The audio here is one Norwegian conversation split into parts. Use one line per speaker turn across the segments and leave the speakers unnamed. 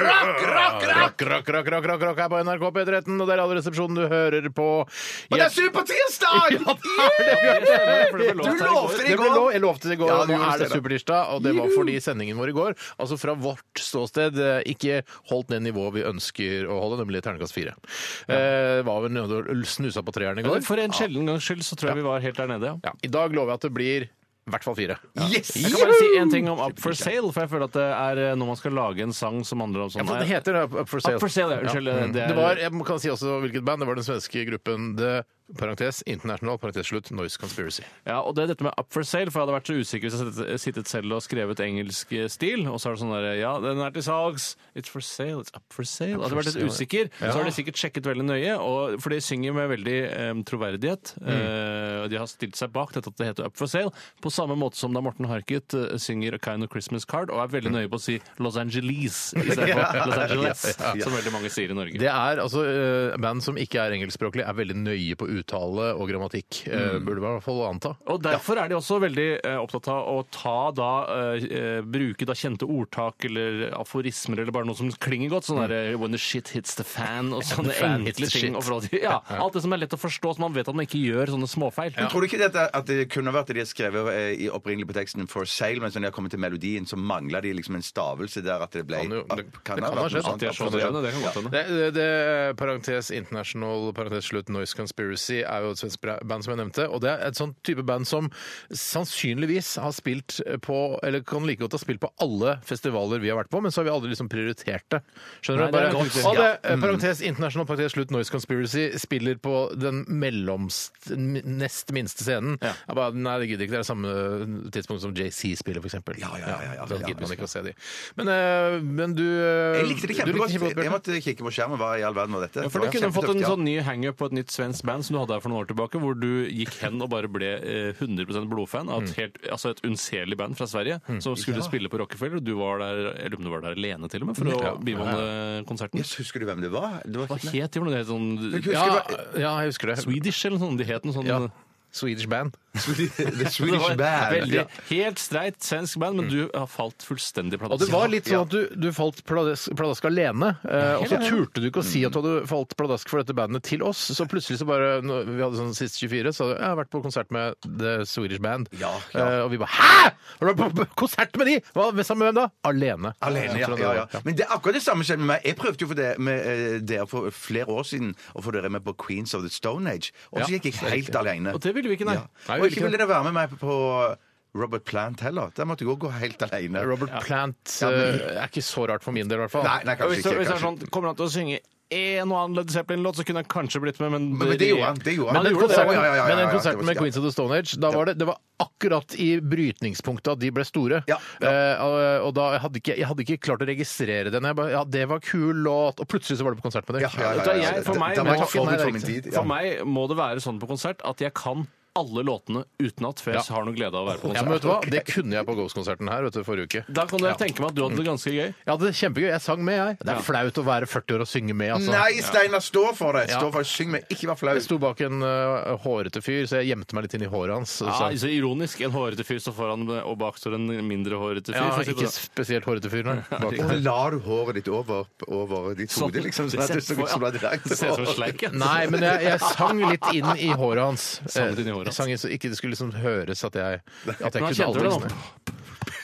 Rock, rock, rock, rock, rock, rock er på NRK P13, og det er Radioresepsjonen du hører på. Og
det er Supertirsdag!
Du
Du lovte det i går.
Jeg lovte det i går.
Ja, du
Nå
gjorde
er det
det.
supertirsdag, og det var fordi sendingen vår i går, altså fra vårt ståsted, eh, ikke holdt det nivået vi ønsker å holde, nemlig terningkast fire. Eh, Var vel nede og snusa på treeren i går.
For en sjelden gangs skyld så tror jeg vi var helt der nede, ja.
Ja, I dag lover jeg at det blir i hvert fall fire.
Yes!
Jeg kan bare si en ting om Up for Sale, for jeg føler at det er eh, når man skal lage en sang som handler om
Ja,
sånn
for det
her.
heter det, Up for Sale.
Up for Sale, ja. Unnskyld.
Ja. Mm.
Det er,
Det var, jeg kan si også hvilket band. Det var den svenske gruppen The Parentes, International parentes slutt, Noise Conspiracy.
ja, og det er dette med Up for Sale, for jeg hadde vært så usikker hvis jeg sittet- sittet selv og skrevet engelsk eh, stil, og så er det sånn der Ja, den er til salgs. It's for sale. It's up for sale. Hadde jeg vært litt usikker, så har de sikkert sjekket veldig nøye, og, for de synger med veldig eh, troverdighet. eh, og de har stilt seg bak dette at det heter Up for Sale, på samme måte som da Morten Harket eh, synger A Kind of Christmas Card, og er veldig nøye på å si Los Angeles i stedet for Los Angeles, som veldig mange sier i Norge.
Det er altså eh, Band som ikke er engelskspråklige, er veldig nøye på uttale og grammatikk. eh, Burde man i hvert fall anta.
Og Derfor er de også veldig eh, opptatt av å ta da, eh, eh, bruke da kjente ordtak eller aforismer eller bare noe som klinger godt. Sånn derre 'when the shit hits the fan' og sånne
fan hits
enkle
the shit.
ting. Og forhold til- ja, alt det som er lett å forstå, så man vet at man ikke gjør sånne småfeil.
Men Tror du ikke dette, at det kunne vært at de har skrevet eh, i opprinnelig på teksten 'For sale', men så når de har kommet til melodien, så mangla de liksom en stavelse der at det ble
Kan jo-
Ah,
det-
kan
det
ha
kan ha
vært noe
skjedd.
sånt.
At de er så drevne, det kan godt hende.
Det, det, det er Parentes International parentes slutt, Noise Conspiracy er jo et svensk bra- band som jeg nevnte. Og det er et sånn type band som sannsynligvis har spilt på Eller kan like godt ha spilt på alle festivaler vi har vært på, men så har vi aldri liksom prioritert det. Skjønner
Nei,
du?
det er
Bare,
godt.
og det,
Mm.
eh, Parentes International parentes slutt, Noise Conspiracy spiller på den mellomst, nest minste scenen. Jeg bare, nei, det gidder ikke. Det er samme tidspunkt som JC spiller, f.eks.
Ja, ja, ja, ja, ja.
Da gidder man ikke å se de. Men, eh, men du eh,
Jeg likte det
du
kjempegodt.
kjempegodt, Bjarte.
Jeg måtte kikke på skjermen. Hva i all verden var dette?
Ja, for Du
Det var
kunne fått en
kjempetøft, ja.
sånn ny hangup på et nytt svensk band som du hadde her for noen år tilbake, hvor du gikk hen og bare ble eh, 100 blodfan av et, helt, altså et unnselig band fra Sverige som skulle spille på Rockefeller, og du var der jeg lurer på om du var der alene til og med for å bivåne konserten.
Yes, Husker du hvem det var? Det var
Hva
ikke-
het de for noe? Det het sånn
Husker
Ja, eh,
du hva-
ja, jeg husker det.
Swedish eller noe sånt. De het noe sånn
Ja. Swedish band.
The
Det var
Swedish
et
Band.
Veldig,
Ja.
helt streit svensk band, men du har falt fullstendig
Og
pladask.
det var litt sånn at du, du falt pladask, pladask alene, eh, og så turte du ikke å
Mm.
si at du hadde falt pladask for dette bandet til oss, så plutselig så bare når Vi hadde sånn siste 24, så hadde jeg «Jeg har vært på konsert med The Swedish Band.
Ja, ja.
Eh, og vi bare Hæ?! Har du vært på konsert med de?! Hva, sammen med hvem da? Alene.
Alene, ja, ja, ja. Men det er akkurat det samme skjedde med meg. Jeg prøvde jo for det med eh, dere for flere år siden å få dere med på Queens of the Stone Age, og
Ja,
så gikk jeg helt alene.
Og det ville vi ikke, nei.
Ja.
Nei,
Og
vi
ikke
ville ikke
ville dere være med meg på Robert Plant heller. Der måtte jeg også gå helt alene.
Robert Plant
Ja, men-
eh, er ikke så rart for min del, i hvert fall.
Nei, nei,
Og
kanskje
Hvis,
ikke.
det- hvis det er
Kanskje.
sånn, kommer han til å synge en og annen Led Zeppelin-låt, så kunne han kanskje blitt med, men
Men- men det gjorde han, det gjorde
Men
han.
Men han
den
gjorde det,
konserten,
ja, ja, ja, ja,
men den
ja,
konserten
det var
med
sikkert.
Queens of the Stone Age, da var det, det var akkurat i brytningspunktet at de ble store.
Ja, ja.
Eh, og- og da jeg hadde ikke, jeg hadde ikke klart å registrere den. Jeg bare, ja, det var kul låt. Og plutselig så var det på konsert med dem.
Ja, ja, ja,
Da
ja,
jeg- for meg-
da, da var jeg
Takk for
forut
meg, det er
for min tid.
For meg må det være sånn på konsert at jeg kan alle låtene utenat før jeg
Ja.
har noe glede av å være på
Ja, men
konsert.
vet du hva? Det kunne jeg på Ghost-konserten her vet du, forrige uke.
Da kan jeg tenke meg at du hadde det ganske gøy.
Jeg hadde det kjempegøy. Jeg sang med, jeg. Det er flaut å være 40 år og synge med, altså.
Nei, Steinar, stå for det! Stå
Ja.
for det. Syng med. Ikke vær flau.
Jeg sto bak en eh, hårete fyr, så jeg gjemte meg litt inn i håret hans. og
Ja,
sang.
så ironisk. En hårete fyr står foran, og bak står en mindre hårete fyr.
ja,
for å si det
ikke
sånn.
spesielt hårete fyr, nei. Bak.
Og lar du håret ditt over, over ditt
Sånn.
hode, liksom? Sånn at det ser ut som du har
Det ser ut som en
direkte
sleik. ja.
Nei, men jeg, jeg sang litt inn i håret hans. Eh,
Sang litt inn i håret
Jeg sang så ikke det skulle liksom høres at jeg, at jeg
Men han
kunne
kjente
alt
vel
liksom.
det nå?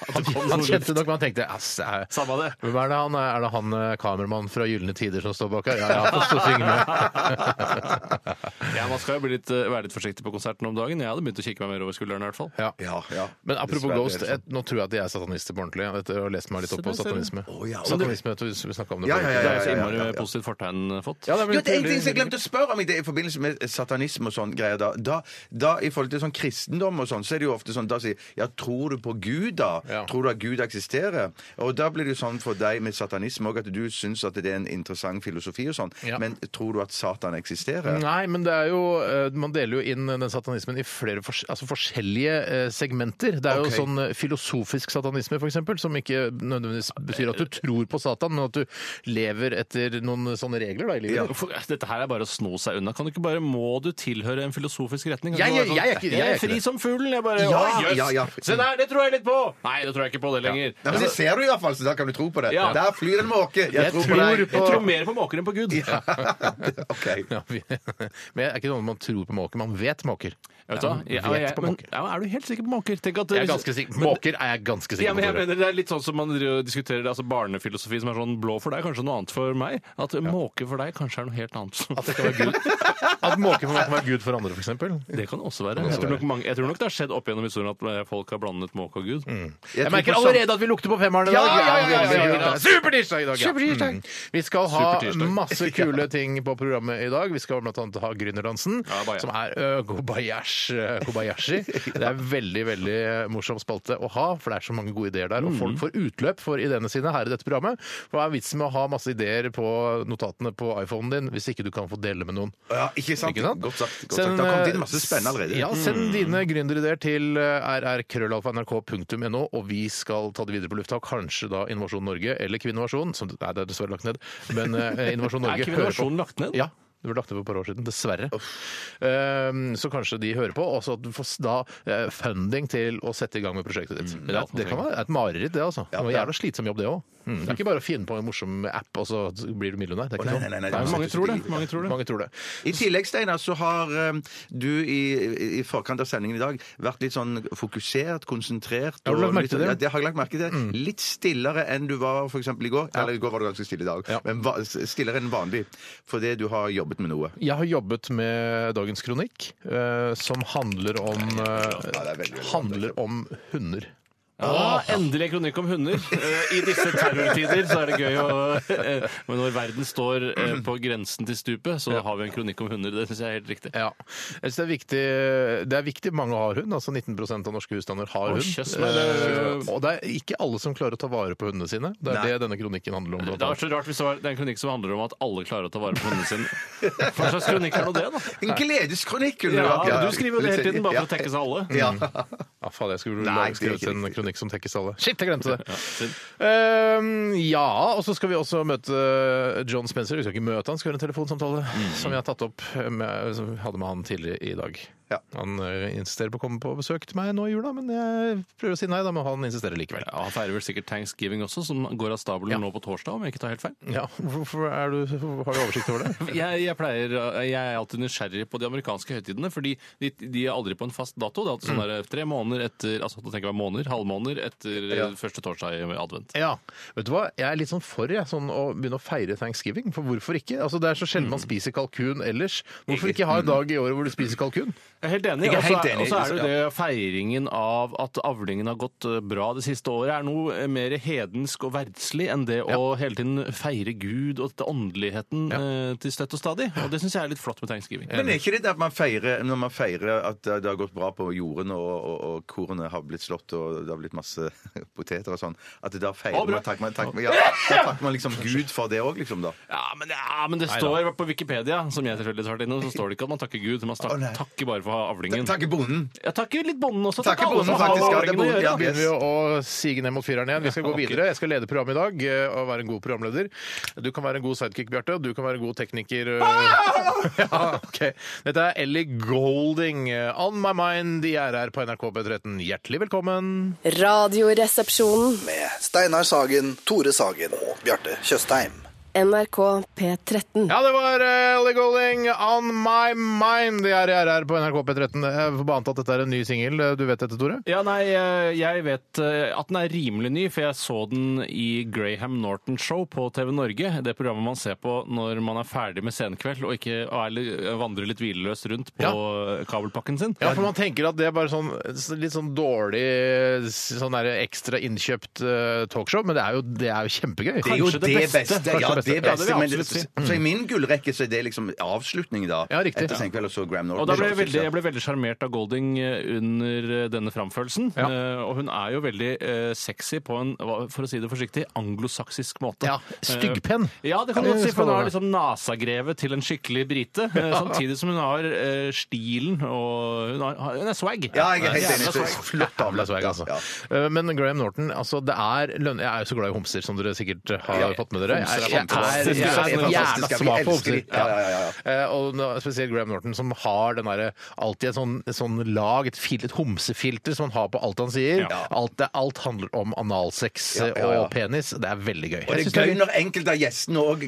Han kjente nok, men han tenkte ass, det er-
Samme det.
Hvem er det han er? Er det han eh, kameramannen fra Gylne tider som står bak her? Ja, ja, få stå og synge med.
Ja, Man skal jo bli litt, eh, være litt forsiktig på konserten om dagen. Jeg hadde begynt å kikke meg mer over skulderen. i hvert fall.
Ja.
Ja, ja.
Men apropos
Dessverre,
Ghost,
det er
jeg, nå tror jeg at de er satanister på ordentlig. Etter å ha lest meg litt opp på
Se der,
satanisme.
Å, ja.
Satanisme, vet du, vi snakket om det.
Ja,
forrige
ja,
uke.
Det er jo så
ja, ja,
innmari
ja, ja.
positivt fortegn eh, fått.
Ja, det er vel
Jo, det er en ting som jeg
veldig-
glemte å spørre om i, det, i forbindelse med satanisme og sånn greier. Da, da, da I forhold til sånn kristendom og sånn, så er det jo ofte sånn da sier ja, tror du på Gud, da?
Ja.
Tror du at Gud eksisterer? Og da blir det jo sånn for deg med satanisme òg at du syns at det er en interessant filosofi og sånn,
Ja.
men tror du at Satan eksisterer?
Nei, men det er jo, eh, man deler jo inn den satanismen i flere fors altså forskjellige eh, segmenter. Det er
Ok.
jo sånn eh, filosofisk satanisme, for eksempel, som ikke nødvendigvis betyr
Eh,
at du tror på Satan, men at du lever etter noen sånne regler da, i livet. ditt.
Hvorfor- Dette her er bare å sno seg unna. Kan du ikke bare, Må du tilhøre en filosofisk retning? Kan
Jeg-
du bare
jeg-
sånn-
jeg er ikke- jeg er
fri
ikke det.
som fuglen. Jeg bare,
Ja,
Å, jøss.
ja, ja.
Se der, det tror jeg litt på! Nei, det tror jeg ikke på det lenger. Altså,
Ja, men det
altså-
ser du iallfall, så da kan du tro på det.
Ja.
Der flyr en måke! Jeg, tror, på
tror
deg.
Jeg tror mer på måker enn på Gud.
Ok.
Ja, vi, men det er ikke noe man tror på måker, man vet måker.
Jeg vet hva?
Ja,
Ja,
man vet
jeg-
på
men-
måker.
ja, men er du helt sikker på måker? Tenk at,
Jeg er ganske sikker.
Men-
Måker er jeg ganske sikker
Ja, men jeg
på. Tore.
mener Det er litt sånn som man driver og diskuterer altså barnefilosofi som er sånn blå for deg, kanskje noe annet for meg. At måke for deg kanskje er noe helt annet.
At, det kan være Gud. At måker for meg kan være Gud for andre, for eksempel.
Det kan også være. Jeg tror nok, mange, jeg tror nok det har skjedd opp gjennom historien at eh, folk har blandet måke og Gud.
Jeg
tror
merker
på sånn-
allerede at vi lukter på femmeren i dag.
Ja, ja, ja, ja, ja, ja.
Supertirsdag i dag, ja.
Supertirsdag.
Mm. Vi skal ha
Supertirsdag.
masse kule ting på programmet i dag. Vi skal bl.a. ha Gründerdansen,
Ja, bare ja.
som er ø, Kobayashi. ø, Kobayashi. Det er veldig veldig morsom spalte å ha, for det er så mange gode ideer
Mm.
der. Og folk får utløp for ideene sine her i dette programmet. Hva er vitsen med å ha masse ideer på notatene på iPhonen din hvis ikke du kan få dele med noen?
Ja, ikke sant?
Ikke sant?
Godt sagt. Godt
Send, eh,
sagt. Det har kommet inn masse spennende allerede. Mm.
Ja, send dine gründerideer til eh, rrkrøllalfa.nrk.no, og vi skal ta det videre på lufta. Kanskje da Innovasjon Norge eller Kvinnovasjon, som nei, det er dessverre lagt ned. Men eh, Innovasjon
Er
Norge
ikke
hører på.
venerasjonen lagt ned?
Ja, det ble lagt ned for et par år siden, dessverre. Ehm, så kanskje de hører på, og så at du får da eh, funding til å sette i gang med prosjektet ditt.
Mm,
det, er- det kan være et mareritt, det altså. Det var en jævla slitsom jobb, det òg. Det er ikke bare å finne på en morsom app, og så blir du millionær. Det er
Å,
ikke
nei,
sånn.
nei, nei, nei,
Det er
det
mange
settes
tror
ut i
det.
livet.
Mange tror det.
Mange tror det.
I tillegg, Steinar, så har eh, du i, i, i forkant av sendingen i dag vært litt sånn fokusert, konsentrert.
Har du lagt
og
merke
litt- sånn-
til det?
Ja, det har jeg lagt merke til.
Mm.
Litt stillere enn du var for eksempel i går. Eller i går var du ganske stille i dag.
Ja.
Men va- stillere enn vanlig. Fordi du har jobbet med noe.
Jeg har jobbet med dagens kronikk, eh, som handler om, eh,
det er veldig, veldig bra.
handler om hunder.
Ah, endelig en kronikk om hunder. Eh, I disse terrortider så er det gøy å eh, Men når verden står eh, på grensen til stupet, så har vi en kronikk om hunder. Det syns jeg er helt riktig.
Ja. Jeg synes det, er viktig, det er viktig mange har hund. altså 19 av norske husstander har
Å,
hund.
kjøss meg, det-
Eh, og det er ikke alle som klarer å ta vare på hundene sine. Det er
Nei.
det denne kronikken handler om.
Det
blant
er
annet.
så rart hvis det var det er en kronikk som handler om at alle klarer å ta vare på hundene sine. Hva slags kronikk er nå det, da?
En gledeskronikk! kunne
Ja,
det vært.
du skriver jo det hele tiden bare for å sånn.
Ja.
tekke seg alle.
Ja.
Ja, faen, jeg skulle
Nei,
lage
det er
skrevet
ikke
en
riktig.
kronikk som tekkes alle. Shit, jeg glemte det!
synd.
Ehm, ja, og så skal vi også møte eh, John Spencer. Vi skal ikke møte han, skal gjøre en telefonsamtale
Mm.
som jeg har tatt opp med, som jeg hadde med han tidligere i dag.
Ja.
Han ø, insisterer på å komme på besøk til meg nå i jula, men jeg prøver å si nei, da, men han insisterer likevel.
Ja, Han feirer vel sikkert Thanksgiving også, som går av stabelen nå på torsdag, om jeg ikke tar helt feil.
Ja, hvorfor er du, Har du oversikt over det?
Jeg, jeg, pleier, jeg er alltid nysgjerrig på de amerikanske høytidene, fordi de, de er aldri på en fast dato. Det er alltid sånn der tre måneder etter altså da tenker jeg måneder, halvmåneder etter eh, første torsdag i advent.
Ja, vet du hva? Jeg er litt sånn for jeg, sånn å begynne å feire thanksgiving. For hvorfor ikke? Altså, Det er så sjelden man spiser kalkun ellers. Hvorfor ikke ha en dag i året hvor du spiser kalkun?
Jeg er helt enig.
Jeg er helt
Og så er-
enig.
Og så er det jo det feiringen av at avlingen har gått eh, bra det siste året, er noe eh, mer hedensk og verdslig enn det å hele tiden feire Gud og dette åndeligheten eh, til støtt og stadig. Og det syns jeg er litt flott med tegnskriving.
Men er ikke det det at man feirer når man feirer at det det har gått bra på jorden, og, og, og korene har blitt slått, og det har blitt masse poteter og sånn, at det da feirer
Å, bra.
man, takker man, takker, man- ja, da takker man liksom Gud for det òg, liksom, da?
Ja, men, ja, men det står på Wikipedia, som jeg selvfølgelig tar til nå, så står det ikke at man takker Gud, man
Å,
tak-
nei.
Mm. takker bare for avlingen.
Takker bonden.
Jeg takker litt bonden også.
Takker
Takk alle
bonden,
som har
faktisk, ja, det
med
er
avlingen å
bonden,
gjøre,
ja.
da.
begynner vi å å sige ned mot fireren igjen. Vi skal gå videre. Jeg skal lede programmet i dag eh, og være en god programleder. Du kan være en god sidekick, Bjarte, og du kan være en god tekniker. eh. Ja, ok. Dette er Ellie Golding. eh, On My Mind, de er her på NRK P13. Hjertelig velkommen.
Radioresepsjonen.
med Steinar Sagen, Tore Sagen og Bjarte Tjøstheim.
NRK P13.
Ja, det var eh, Ellie Golding, On My Mind, de er her på NRK P13. Jeg får bare anta at dette er en ny singel. Du vet dette, Tore?
Ja, nei, eh, jeg vet eh, at den er rimelig ny, for jeg så den i Graham Norton Show på TV Norge. Det programmet man ser på når man er ferdig med scenekveld og ikke og er, litt- vandrer litt hvileløst rundt på kabelpakken sin.
Ja, for man tenker at det er bare sånn litt sånn dårlig sånn der ekstra innkjøpt eh, talkshow, men det er jo, det er jo kjempegøy.
Det er jo
Kanskje det
det
beste.
beste.
Kanskje
Ja,
det
Det er
Ja, det vil
beste,
jeg
men
absolutt si.
så i min gullrekke så er det liksom avslutning, da.
Ja, riktig.
Etter Senkveld og så Graham Norton.
Og da ble jeg, veldig, jeg ble veldig sjarmert av Golding eh, under eh, denne framførelsen.
Ja.
Eh, og hun er jo veldig eh, sexy på en, hva- for å si det forsiktig, anglosaksisk måte.
Ja, styggpenn.
Eh, Ja, det kan du
Ja,
godt
det
si, for
skal
hun har
det
liksom nasagrevet til en skikkelig brite. eh, Samtidig som hun har eh, stilen og Hun, har, hun er swag.
Ja, jeg er helt
Jævla
enig.
swag.
Flott av Las Vegas,
Ja.
altså. Eh, Men Graham Norton, altså det er lønn... Jeg er jo så glad i homser, som dere sikkert har
Ja,
fått med dere.
homser er
Jeg, jeg, er, jeg
fantastisk. Homser er
er jævla
fantastisk. Ja, vi
svak for
elsker
homser.
de. Ja, ja, ja,
Eh, Og nå- spesielt Graham Norton, som har den derre alltid et sånn, et sånn lag, et, fil, et homsefilter som han har på alt han sier.
Ja.
Alt, det, alt handler om analsex
Ja, ja, ja.
og penis. Det er veldig gøy.
Og det
Jeg synes
er gøy når enkelte av gjestene òg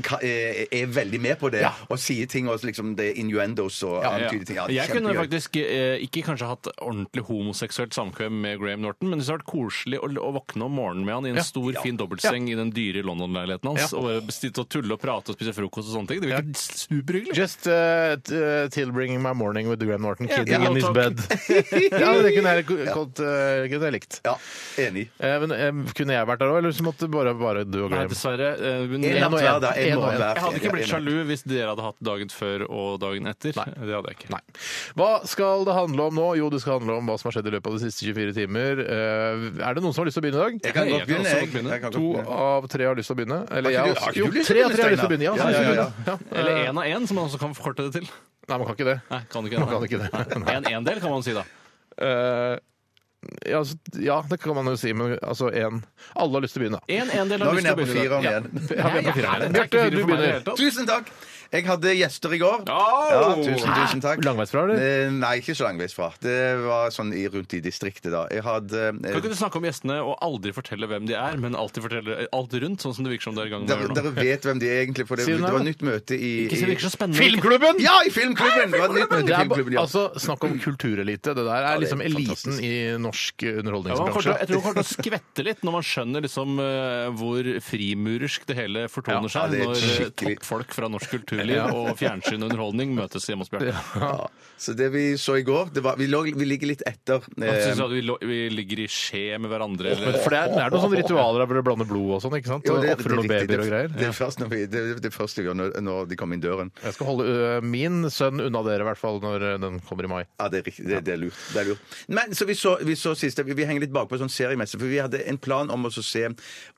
er veldig med på det
Ja.
og sier ting og liksom det er innuendos og antyder ting. Ja, det er
Jeg kunne
kjempegøy.
faktisk eh, ikke kanskje hatt ordentlig homoseksuelt samkvem med Graham Norton, men det hadde vært koselig å, å våkne om morgenen med han i en
Ja.
stor, fin dobbeltseng i den dyre London-leiligheten hans,
Ja.
og bare sitte og tulle og prate og spise frokost og sånne ting. Det
Ja.
virker superhyggelig.
Just uh, t- uh, tilbringing my morning with Graham Norton kidding
ja,
in his
takk.
bed. ja, men det kunne jeg, godt, uh, kunne jeg likt.
Ja, enig.
Eh, men eh, Kunne jeg vært der òg, eller så måtte bare, bare du og
Nei,
Graham?
dessverre. eh, men-
En natt
og
hver,
en.
da. En
En og
morgen
en.
hver.
Jeg hadde
Ja,
ikke blitt
en-
sjalu hvis dere hadde hatt dagen før og dagen etter. Det hadde jeg ikke.
Nei. Hva skal det handle om nå? Jo, det skal handle om hva som har skjedd i løpet av de siste 24 timer. Eh, er det noen som har lyst til å begynne i
Jeg
dag?
kan
Jeg
godt
kan
begynne.
også
jeg.
godt begynne.
Jeg kan godt
To
begynne.
av tre har lyst til å begynne. Eller
Har ikke
jeg
du- har
også.
ikke
Jo,
du lyst til
tre
å
av tre har lyst til å
begynne,
begynne. Ja,
Steinar? Ja, ja, ja.
Ja,
Eller
eh,
én av én, som man også kan forkorte det til.
Nei, man kan ikke det.
Nei, kan
Man kan ikke det.
En endel, kan man si da.
Eh, ja, altså, ja, det kan man jo si, men altså én Alle har lyst til å begynne.
En endel
Nå
har
er vi
lyst til
nede
å
på
begynne.
fire
i dag.
om
Ja.
igjen.
Ja, vi er på fireren.
Nei, det er ikke
Bjarte,
fire
du
for meg i det
begynner.
hele tatt.
Tusen takk! Jeg hadde gjester i går.
Au!
Ja, tusen, tusen takk.
Langveisfra, eller?
Eh, Nei, ikke så langveis fra. Det var sånn i, rundt i distriktet, da. Jeg hadde eh,
Kan ikke du snakke om gjestene og aldri fortelle hvem de er, men alltid fortelle alt rundt, sånn som det virker som det er i gang med å
dere,
gjøre nå?
dere vet hvem de er egentlig, for det,
Si det
det
nå, da.
var nytt møte i,
Ikke si det
i
virker så spennende.
Filmklubben!
Ja, i Filmklubben! Det var et nytt møte
Det
i
er, ba-
Filmklubben, ja.
altså, snakk om kulturelite. Det der er
er
liksom eliten
fantastisk.
i norsk
Ja, man kommer til, å- jeg
underholdningsbransje.
tror man kommer til å skvette litt når man skjønner liksom eh, hvor frimurersk det hele fortoner
Ja,
seg,
det er
når eh,
skikkelig.
toppfolk fra norsk kulturliv og fjernsyn og underholdning møtes hjemme hos Bjarte.
Ja. Så det vi så i går det var, vi, lå, vi ligger litt etter.
Han
eh,
synes at vi, lå- vi ligger i skje med hverandre.
Men
Eller,
For det er, det er noen sånne ritualer der hvor du blander blod og sånn, ikke sant?
jo,
Og
det- det er
Ofrer noen babyer
riktig.
og
Det- Det
greier.
er først når vi- det er det første vi gjør når, når de kommer inn døren.
Jeg skal holde ø, min sønn unna dere, i hvert fall når ø, den kommer i mai.
Ja, det er riktig. Det, det er lurt. Det er lurt. Men så vi så, vi så siste Vi, vi henger litt bakpå sånn seriemessig, for vi hadde en plan om å så se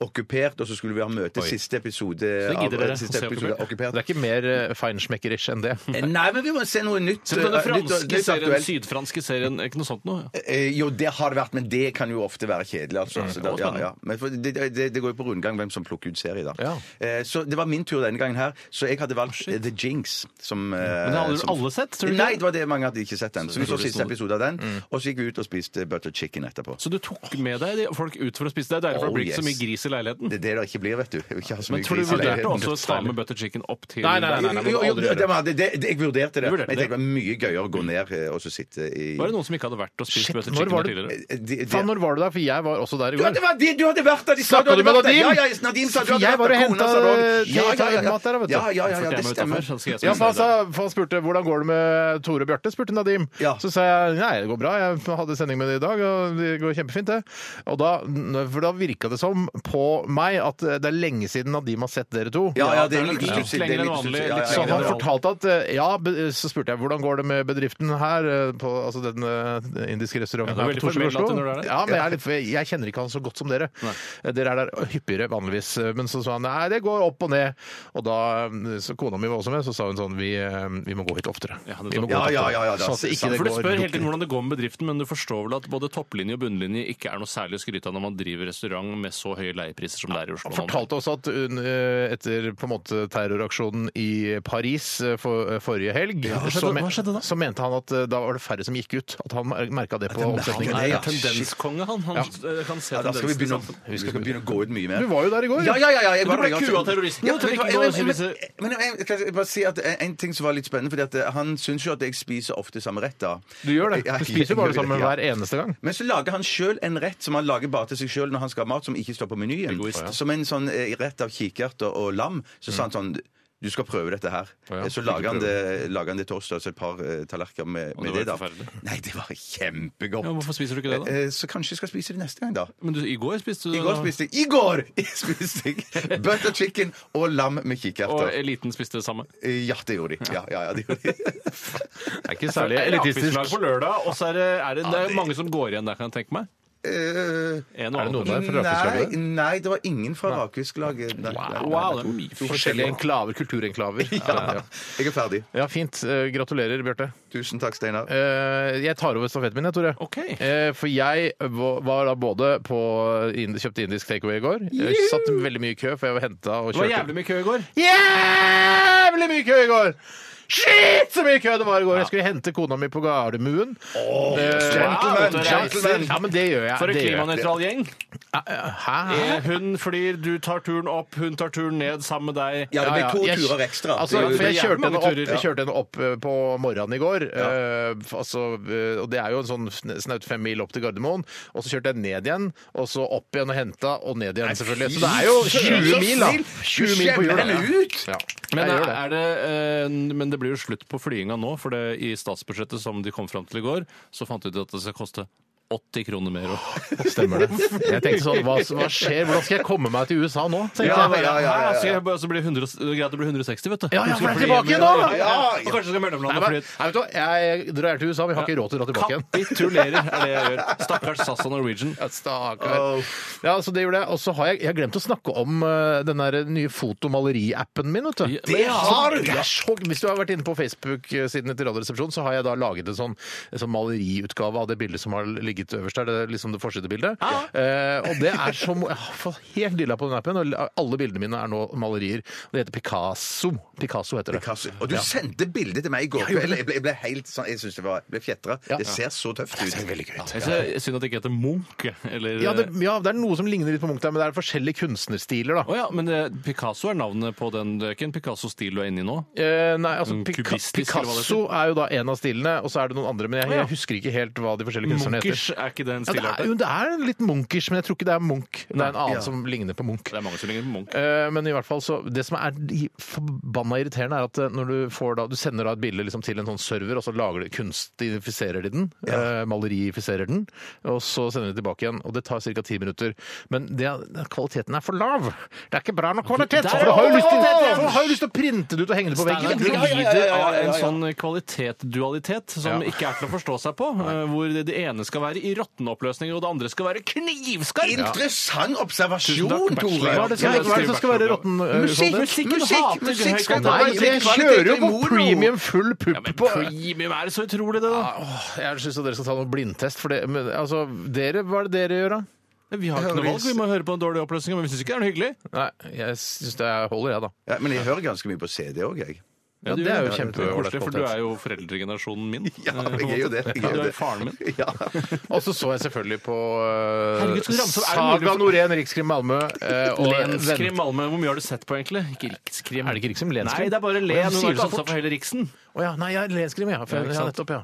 Okkupert, og så skulle vi ha møte siste episode eh,
det gidder dere
siste
å se
episode av Okkupert. Eh,
Det er ikke mer ø, feinschmeckerish enn det.
Nei, men vi må se noe nytt.
Se på denne
eh, nytt og-
franske
nytt
serien,
aktuelt.
sydfranske serien, er ikke noe sånt noe?
Eh, jo, det har det vært, men det kan jo ofte være kjedelig. Altså.
Mm,
Så da, ja, ja. Men for det, det, det går jo på rundgang hvem som plukker ut serie, da.
Ja.
Eh, så det var min tur denne gangen her, så jeg hadde valgt eh, The Jinx. Som, eh,
Men det har aldri
som,
alle sett, tror du ikke?
Nei, det var det mange hadde ikke sett den. Så vi
Så
så
det
siste
sto-
episode av den, og så gikk vi ut og spiste butter chicken etterpå.
Mm. Så du tok med deg de- folk ut for å spise? Det er deilig, for
Oh,
det blir ikke så
yes.
mye gris i leiligheten.
Det er det det ikke blir, vet du. Jeg vil ikke ha så
Men
mye
tror du
gris i leiligheten.
vurderte også å ta med butter chicken opp til
Nei, nei, nei, nei, nei.
Jo,
aldri
jo,
gjøre det.
det var- det, det, jeg vurderte det.
Du vurderte
Men jeg tenkte det
det.
var mye gøyere å gå ned eh, og så sitte i
Var det noen som ikke hadde vært og spist
Shit,
butter
når
chicken
var
her
det-
tidligere?
Eh, de- de-
Faen, når var du der? For jeg var også der i
Du hadde
går.
vært der! Du hadde vært der! De sa
Snakket
hadde
du med
vært der.
Nadim?
Ja, ja, Nadim sa du hadde
Jeg var
vært der.
og
Kona
hentet,
sa det også.
eh,
Ja, ja, ja,
mat der, vet du.
Ja, ja, ja, ja, det stemmer.
Ja, for han
sa
sa, for han spurte hvordan går det med Tore og Bjarte, spurte Nadim.
Ja.
Så sa jeg nei, det går bra, jeg hadde sending med det i dag, og det går kjempefint, det. Og da, for da virka det som på meg at øh, det er lenge siden Nadim har sett dere to.
Ja, ja, det
det
er
er
litt
litt
stussig, det er
lenger enn
litt stussig.
vanlig,
Ja, ja,
litt
ja,
Så
ja,
han
ja.
fortalte at eh, ja, be- så spurte jeg hvordan går det med bedriften her, eh, på, altså den eh, indiske restauranten
Ja,
her
det er
på Torshov
veldig
i Oslo.
formell at du når du er der.
Ja, men jeg, er litt, for jeg- jeg kjenner ikke han så godt som dere. Eh, Dere er der hyppigere vanligvis. eh, Men så sa han nei, det går opp og ned. Og da, eh, så kona mi var også med, så sa hun sånn vi, eh, vi må gå hit oftere.
Ja, det er
vi må
sant.
gå
Ja,
hit
ja,
oftere.
ja, ja, det er
sånn at ikke
sant.
det
for Du
går
spør hele tiden
dukker-
hvordan det går med bedriften, men du forstår vel at både topplinje og bunnlinje ikke er noe særlig å skryte av når man driver restaurant med så høye leiepriser som det er i Oslo.
Han
nå.
fortalte oss at hun, eh, etter på en måte terroraksjonen i Paris eh, for, eh, forrige helg, så, men, så mente han at eh, da var det færre som gikk ut. At han merka det på oppsetningen.
Han er
Ja,
en tendenskonge, han. Han eh, kan se
Ja, da skal vi
tendensen.
begynne, å- vi skal begynne å gå ut mye mer.
Du var jo der i går.
Ja, ja, ja, ja, jeg
Men du
var
ble
der,
kua av terroristen,
Ja,
du trenger
men-
ikke gå og
men-
spise-
Men men jeg kan bare si at en- en ting som var litt spennende, fordi at eh, han syns jo at jeg spiser ofte samme rett, da.
Du gjør det.
Ja,
Du spiser jo
jeg
bare
gjør
sammen
det, ja.
hver eneste gang.
Men så lager han sjøl en rett som han lager bare til seg sjøl når han skal ha mat, som ikke står på menyen.
Egoist.
Som en sånn eh, rett av kikert og, og lam. Så sa han sånn du skal prøve dette her. Eh,
Ja,
så
fikk
lager han,
prøve.
det, lager han det torsdag, altså et par eh, tallerkener med,
Og
med det.
det var
da.
forferdelig.
Nei, det var kjempegodt.
Ja, hvorfor spiser du ikke det, da?
Eh, Så kanskje jeg skal spise det neste gang, da.
eh,
Men du, i går spiste du
I går
da-
spiste jeg I går spiste jeg butter chicken og lam med
Og
kikerter.
eliten spiste det samme.
Eh, Ja, det gjorde de. Ja, ja, ja, det gjorde de.
Det er ikke
Det
særlig
er Rakfisklag
elitistisk.
på lørdag, og så er det, er det, det er
det-
mange som går igjen der, kan jeg tenke meg.
Eh,
En og
Er det
annen
noen der fra
Nei,
Rakfisklaget?
nei, det var ingen fra Rakfisklaget. Nei, nei, nei, nei.
Wow, det er mye
To forskjellige enklaver, kulturenklaver.
Ja. Jeg er ferdig.
Ja, fint. Eh, Gratulerer, Bjarte.
Tusen takk, Steinar.
Eh, Jeg tar over stafetten min, jeg, Tore.
Ok.
Eh, For jeg va- var da både på ind- Kjøpte indisk takeaway i går. Jeg satt veldig mye i kø, for jeg var henta og
Det var
kjørte
jævlig mye kø i går.
jævlig mye kø i går! Shit, så mye kø det var i går! Jeg skulle hente kona mi på Gardermoen. Eh,
gentleman,
wow,
gentleman.
Ja, men det gjør jeg.
For en
det gjør jeg.
klimanøytral gjeng. Eh,
Hæ?
Hun flyr, du tar turen opp, hun tar turen ned sammen med deg.
Ja, det blir to
Jeg-
turer ekstra.
Altså,
Det-
for jeg
det er
kjørte
jævlig
henne
mange
opp,
turer.
jeg kjørte henne opp eh, på morgenen i går. eh, f- altså, eh, og det er jo en sånn sn- snaut fem mil opp til Gardermoen. Og så kjørte jeg ned igjen, og så opp igjen og henta, og ned igjen, selvfølgelig. Så det er jo 20 mil, da. 20 mil på hjul.
Skjemme henne
da.
ut!
Ja.
Men,
jeg
er,
gjør det.
det, eh, men det blir jo slutt på flyginga nå, for det, i statsbudsjettet som de kom fram til i går, så fant de ut at det skal koste 80 kroner mer. å-
Stemmer det. Jeg tenkte sånn, hva, hva skjer? Hvordan skal jeg komme meg til USA nå? tenkte
Ja,
jeg bare.
ja, ja, ja, ja.
Hæ, Så, jeg bare, så blir det 100, det er greit det blir 160, vet du.
Ja, ja, for det er
Fly-
tilbake igjen nå!
Ja, ja, Og kanskje du skal mellomlande
Nei,
og
men,
fly
nei, vet du hva, jeg drar til USA, vi har ikke råd til å dra tilbake igjen.
Kapitulerer er det jeg gjør. Stakkars SAS og Norwegian.
Ja, Stakkar. Ja, så det gjorde jeg. Og så har jeg, jeg har glemt å snakke om eh, den der nye fotomaleri-appen min. vet du.
Ja, Det
har du! hvis du har vært inne på Facebook-sidene til Radioresepsjonen, så har jeg da laget en sånn, en sånn maleriutgave av det bildet som har ligget øverst der. Det er liksom det forsidebildet. Eh, og det er som Jeg har fått helt dilla på den appen, og alle bildene mine er nå malerier. Det heter Picasso. Picasso heter det.
Picasso. Og du sendte bildet til meg i går kveld. Jeg ble, jeg ble helt sånn Jeg synes det var jeg ble fjetra.
Ja.
Det ser så tøft ut. Det ser veldig gøy ut.
Jeg synes Synd at det ikke heter Munch. Eller, eh,
Ja det, ja, det er noe som ligner litt på Munch der, men det er forskjellige kunstnerstiler, da.
Å ja, men det, Picasso er navnet på den. Det er ikke en Picasso-stil du er inne i nå?
Eh, nei, altså
Mm,
Pica
kubistisk, eller hva det
Picasso er jo da en av stilene, og så er det noen andre, men jeg,
Ja.
jeg husker ikke helt hva de forskjellige kunstnerne heter.
Munkers er ikke den
Ja, det er,
stilarten.
jo, det er en litt Munkers, men jeg tror ikke det er Munch. Det er en annen
Ja.
som ligner på Munch.
Det er mange som ligner på Munch.
Eh, Men i hvert fall så, det som er i- forbanna irriterende, er at eh, når du, får da, du sender da et bilde liksom til en sånn server, og så lager du, kunstifiserer de den, eh, malerifiserer den, og så sender de tilbake igjen. Og det tar ca. ti minutter. Men det, er- kvaliteten er for lav! Det er ikke bra nok kvalitet!
Der-
For du har jo lyst til, for du har jo lyst til å printe det ut og henge det på
Steinar,
veggen!
du lider av en sånn kvalitetdualitet som
Ja.
ikke er til å forstå seg på. eh, Hvor det det ene skal være i råtneoppløsninger, og det andre skal være knivskarpt!
Interessant
Tusen
observasjon,
takk,
Tore!
bachelor.
Hva er det som,
Ja,
hva er det som skal være råtten? øh,
Musikk,
sånn?
eh, musikk,
Musikk,
musikk,
musikk skal
musikk skal
ta
Nei,
vare på
jeg kjører jo på
kvalitet i mono.
premium full
Ja,
pupp
men
på
premium er det så utrolig, det, da?
Åh, Jeg syns dere skal ta noen blindtest, for det men, Altså, dere, hva er det dere gjør, da?
Vi har ikke noe valg, vi må høre på en dårlig oppløsning, men vi syns ikke det er noe hyggelig.
Nei, jeg syns det er- holder, jeg, da.
Ja, men jeg hører ganske mye på CD òg, jeg.
Ja, det er jo
koselig,
kjempeålreit
for du
kvalitet.
er jo foreldregenerasjonen min.
Ja, jeg er jo det. Jeg
Ja,
er jo
du er jo
det.
faren min.
Ja.
Og så så jeg selvfølgelig på
Herregud,
øh,
skal du ramse opp- er det
Saga
mulig for-
Norén, Rikskrim Malmö øh, og
Lenskrim
Vent-
Malmö, hvor mye har du sett på egentlig? Ikke Rikskrim.
Er det ikke Rikskrim? Lenskrim?
Nei, det er
Å,
bare Len.
ja,
Hun
sier
har
det så
ikke ansvar
fort.
for hele Riksen.
Å ja, nei, ja, Lenskrim, ja. For,
Ja, ikke
ja,
sant.
nettopp, ja.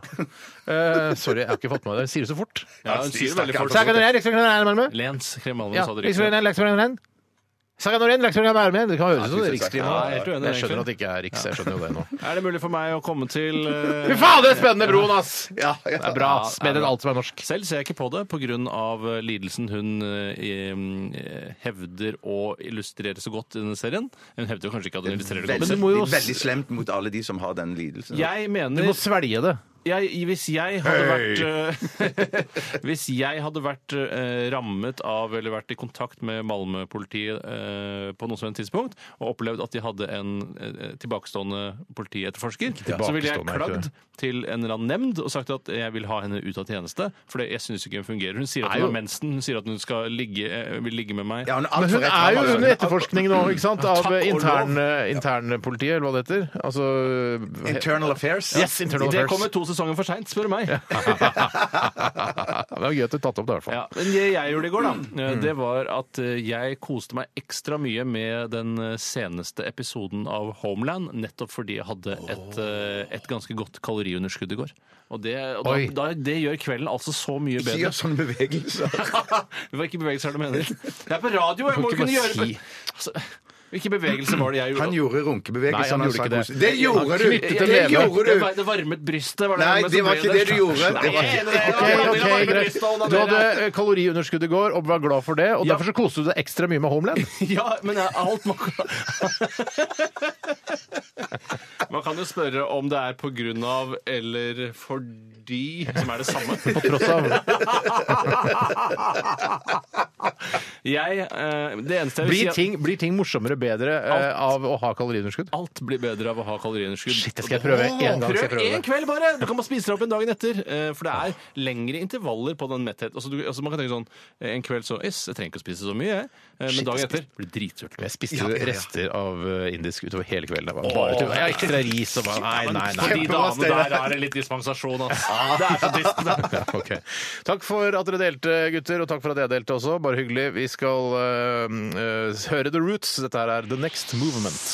Eh, sorry, jeg har ikke fått med meg det. Sier det så fort.
Ja, hun sier det veldig fort.
Saga Norén, Rikskrim Malmö.
Lens Krim Malmö,
Ja,
sa du
Rikskrim
riktig.
Norén, Rikskrim Norén. Saga Norén, Rikskrim Malmö. Det kan høres ut som det er Rikskrim.
Ja, jeg er helt uenig,
Jeg skjønner at
egentlig.
det ikke er Riks. Jeg skjønner jo det nå.
Er det mulig for meg å komme til eh,
Fy faen, det er spennende broen, ass!
Ja, ja.
Det er bra. ass. Bedre enn alt som er norsk.
Selv ser jeg ikke på det pga. lidelsen hun eh, i- eh, hevder å illustrere så godt i denne serien. Hun hevder jo kanskje ikke at hun illustrerer det godt.
Men
Veldig,
du må jo-
veldig slemt mot alle de som har den lidelsen.
Jeg
Du
mener
må svelge det.
jeg, Hvis jeg hadde vært eh, Hvis jeg hadde vært eh, rammet av eller vært i kontakt med Malmö-politiet eh, på noe som helst tidspunkt, og opplevd at de hadde en eh, tilbakestående politietterforsker, så ville jeg
tilbakestående, er det
klagd til en eller annen nemnd og sagt at jeg vil ha henne ut av tjeneste, for det- jeg syns ikke hun fungerer. Hun sier at
Er
hun
jo-
har mensen, hun sier at hun skal ligge, eh, vil ligge med meg.
Ja, hun
Men
er
hun
altfor rett
er jo
mann, altså.
under etterforskning nå, ikke sant? Av
Takk og
intern- eh, internpolitiet, eller hva det heter. Altså
Internal affairs.
Yes, internal
Det
affairs.
kommer to sesonger for seint, spør du meg.
Det var gøy at du tatt opp det, i hvert fall.
Ja, men det jeg gjorde i går, da, eh, det var at eh, jeg koste meg ekstra mye med den eh, seneste episoden av Homeland, nettopp fordi jeg hadde et, eh, et ganske godt kaloriunderskudd i går. Og det, og da,
Oi.
da, det gjør kvelden altså så mye
Ikke
bedre.
gjør sånne bevegelser.
det var ikke bevegelser du mener. Jeg er på radio, jeg
Du kan
må jo kunne
ikke
gjøre
bare si
altså, Hvilke bevegelser var det jeg gjorde?
Han gjorde runkebevegelser.
Nei, han
når
gjorde
sang
ikke det.
kos- Det gjorde
Han
du!
knyttet en
Det
leve.
gjorde
Det
du!
var- Det varmet brystet. Var det
Nei,
som
det var
ble
ikke det du gjorde. Det var-
Nei,
Ok, ok, greit. Du hadde eh, kaloriunderskudd i går og var glad for det, og
Ja.
derfor så koste du deg ekstra mye med Homeland.
Ja, men er alt man kan Man kan jo spørre om det er på grunn av eller fordi som er det samme.
På tross av.
Jeg eh, Det eneste jeg vil si
Blir
er at
ting, blir ting morsommere bedre eh, av å ha kaloriunderskudd?
Alt blir bedre av å ha kaloriunderskudd.
Shit, det skal jeg prøve. En gang skal jeg prøve
en
det.
kveld bare! Du kan bare spise deg opp en dagen etter. eh, For det er lengre intervaller på den mettheten. Altså, du, altså, man kan tenke sånn eh, En kveld så Yes, jeg trenger ikke å spise så mye, jeg. Eh,
Shit,
Men dagen
jeg spiste-
etter blir dritsult.
Jeg spiste
Ja, ja, ja.
rester av eh, indisk utover hele kvelden. Jeg var Bare til, jeg ekstra ris og bare Nei, nei, nei.
De damene der er det litt dispensasjon, ass. Det er så trist.
Ja, ok. Takk for at dere delte, gutter, og takk for at jeg delte også. Bare hyggelig. Vi skal eh, eh, høre The Roots. Dette her er The Next Movement.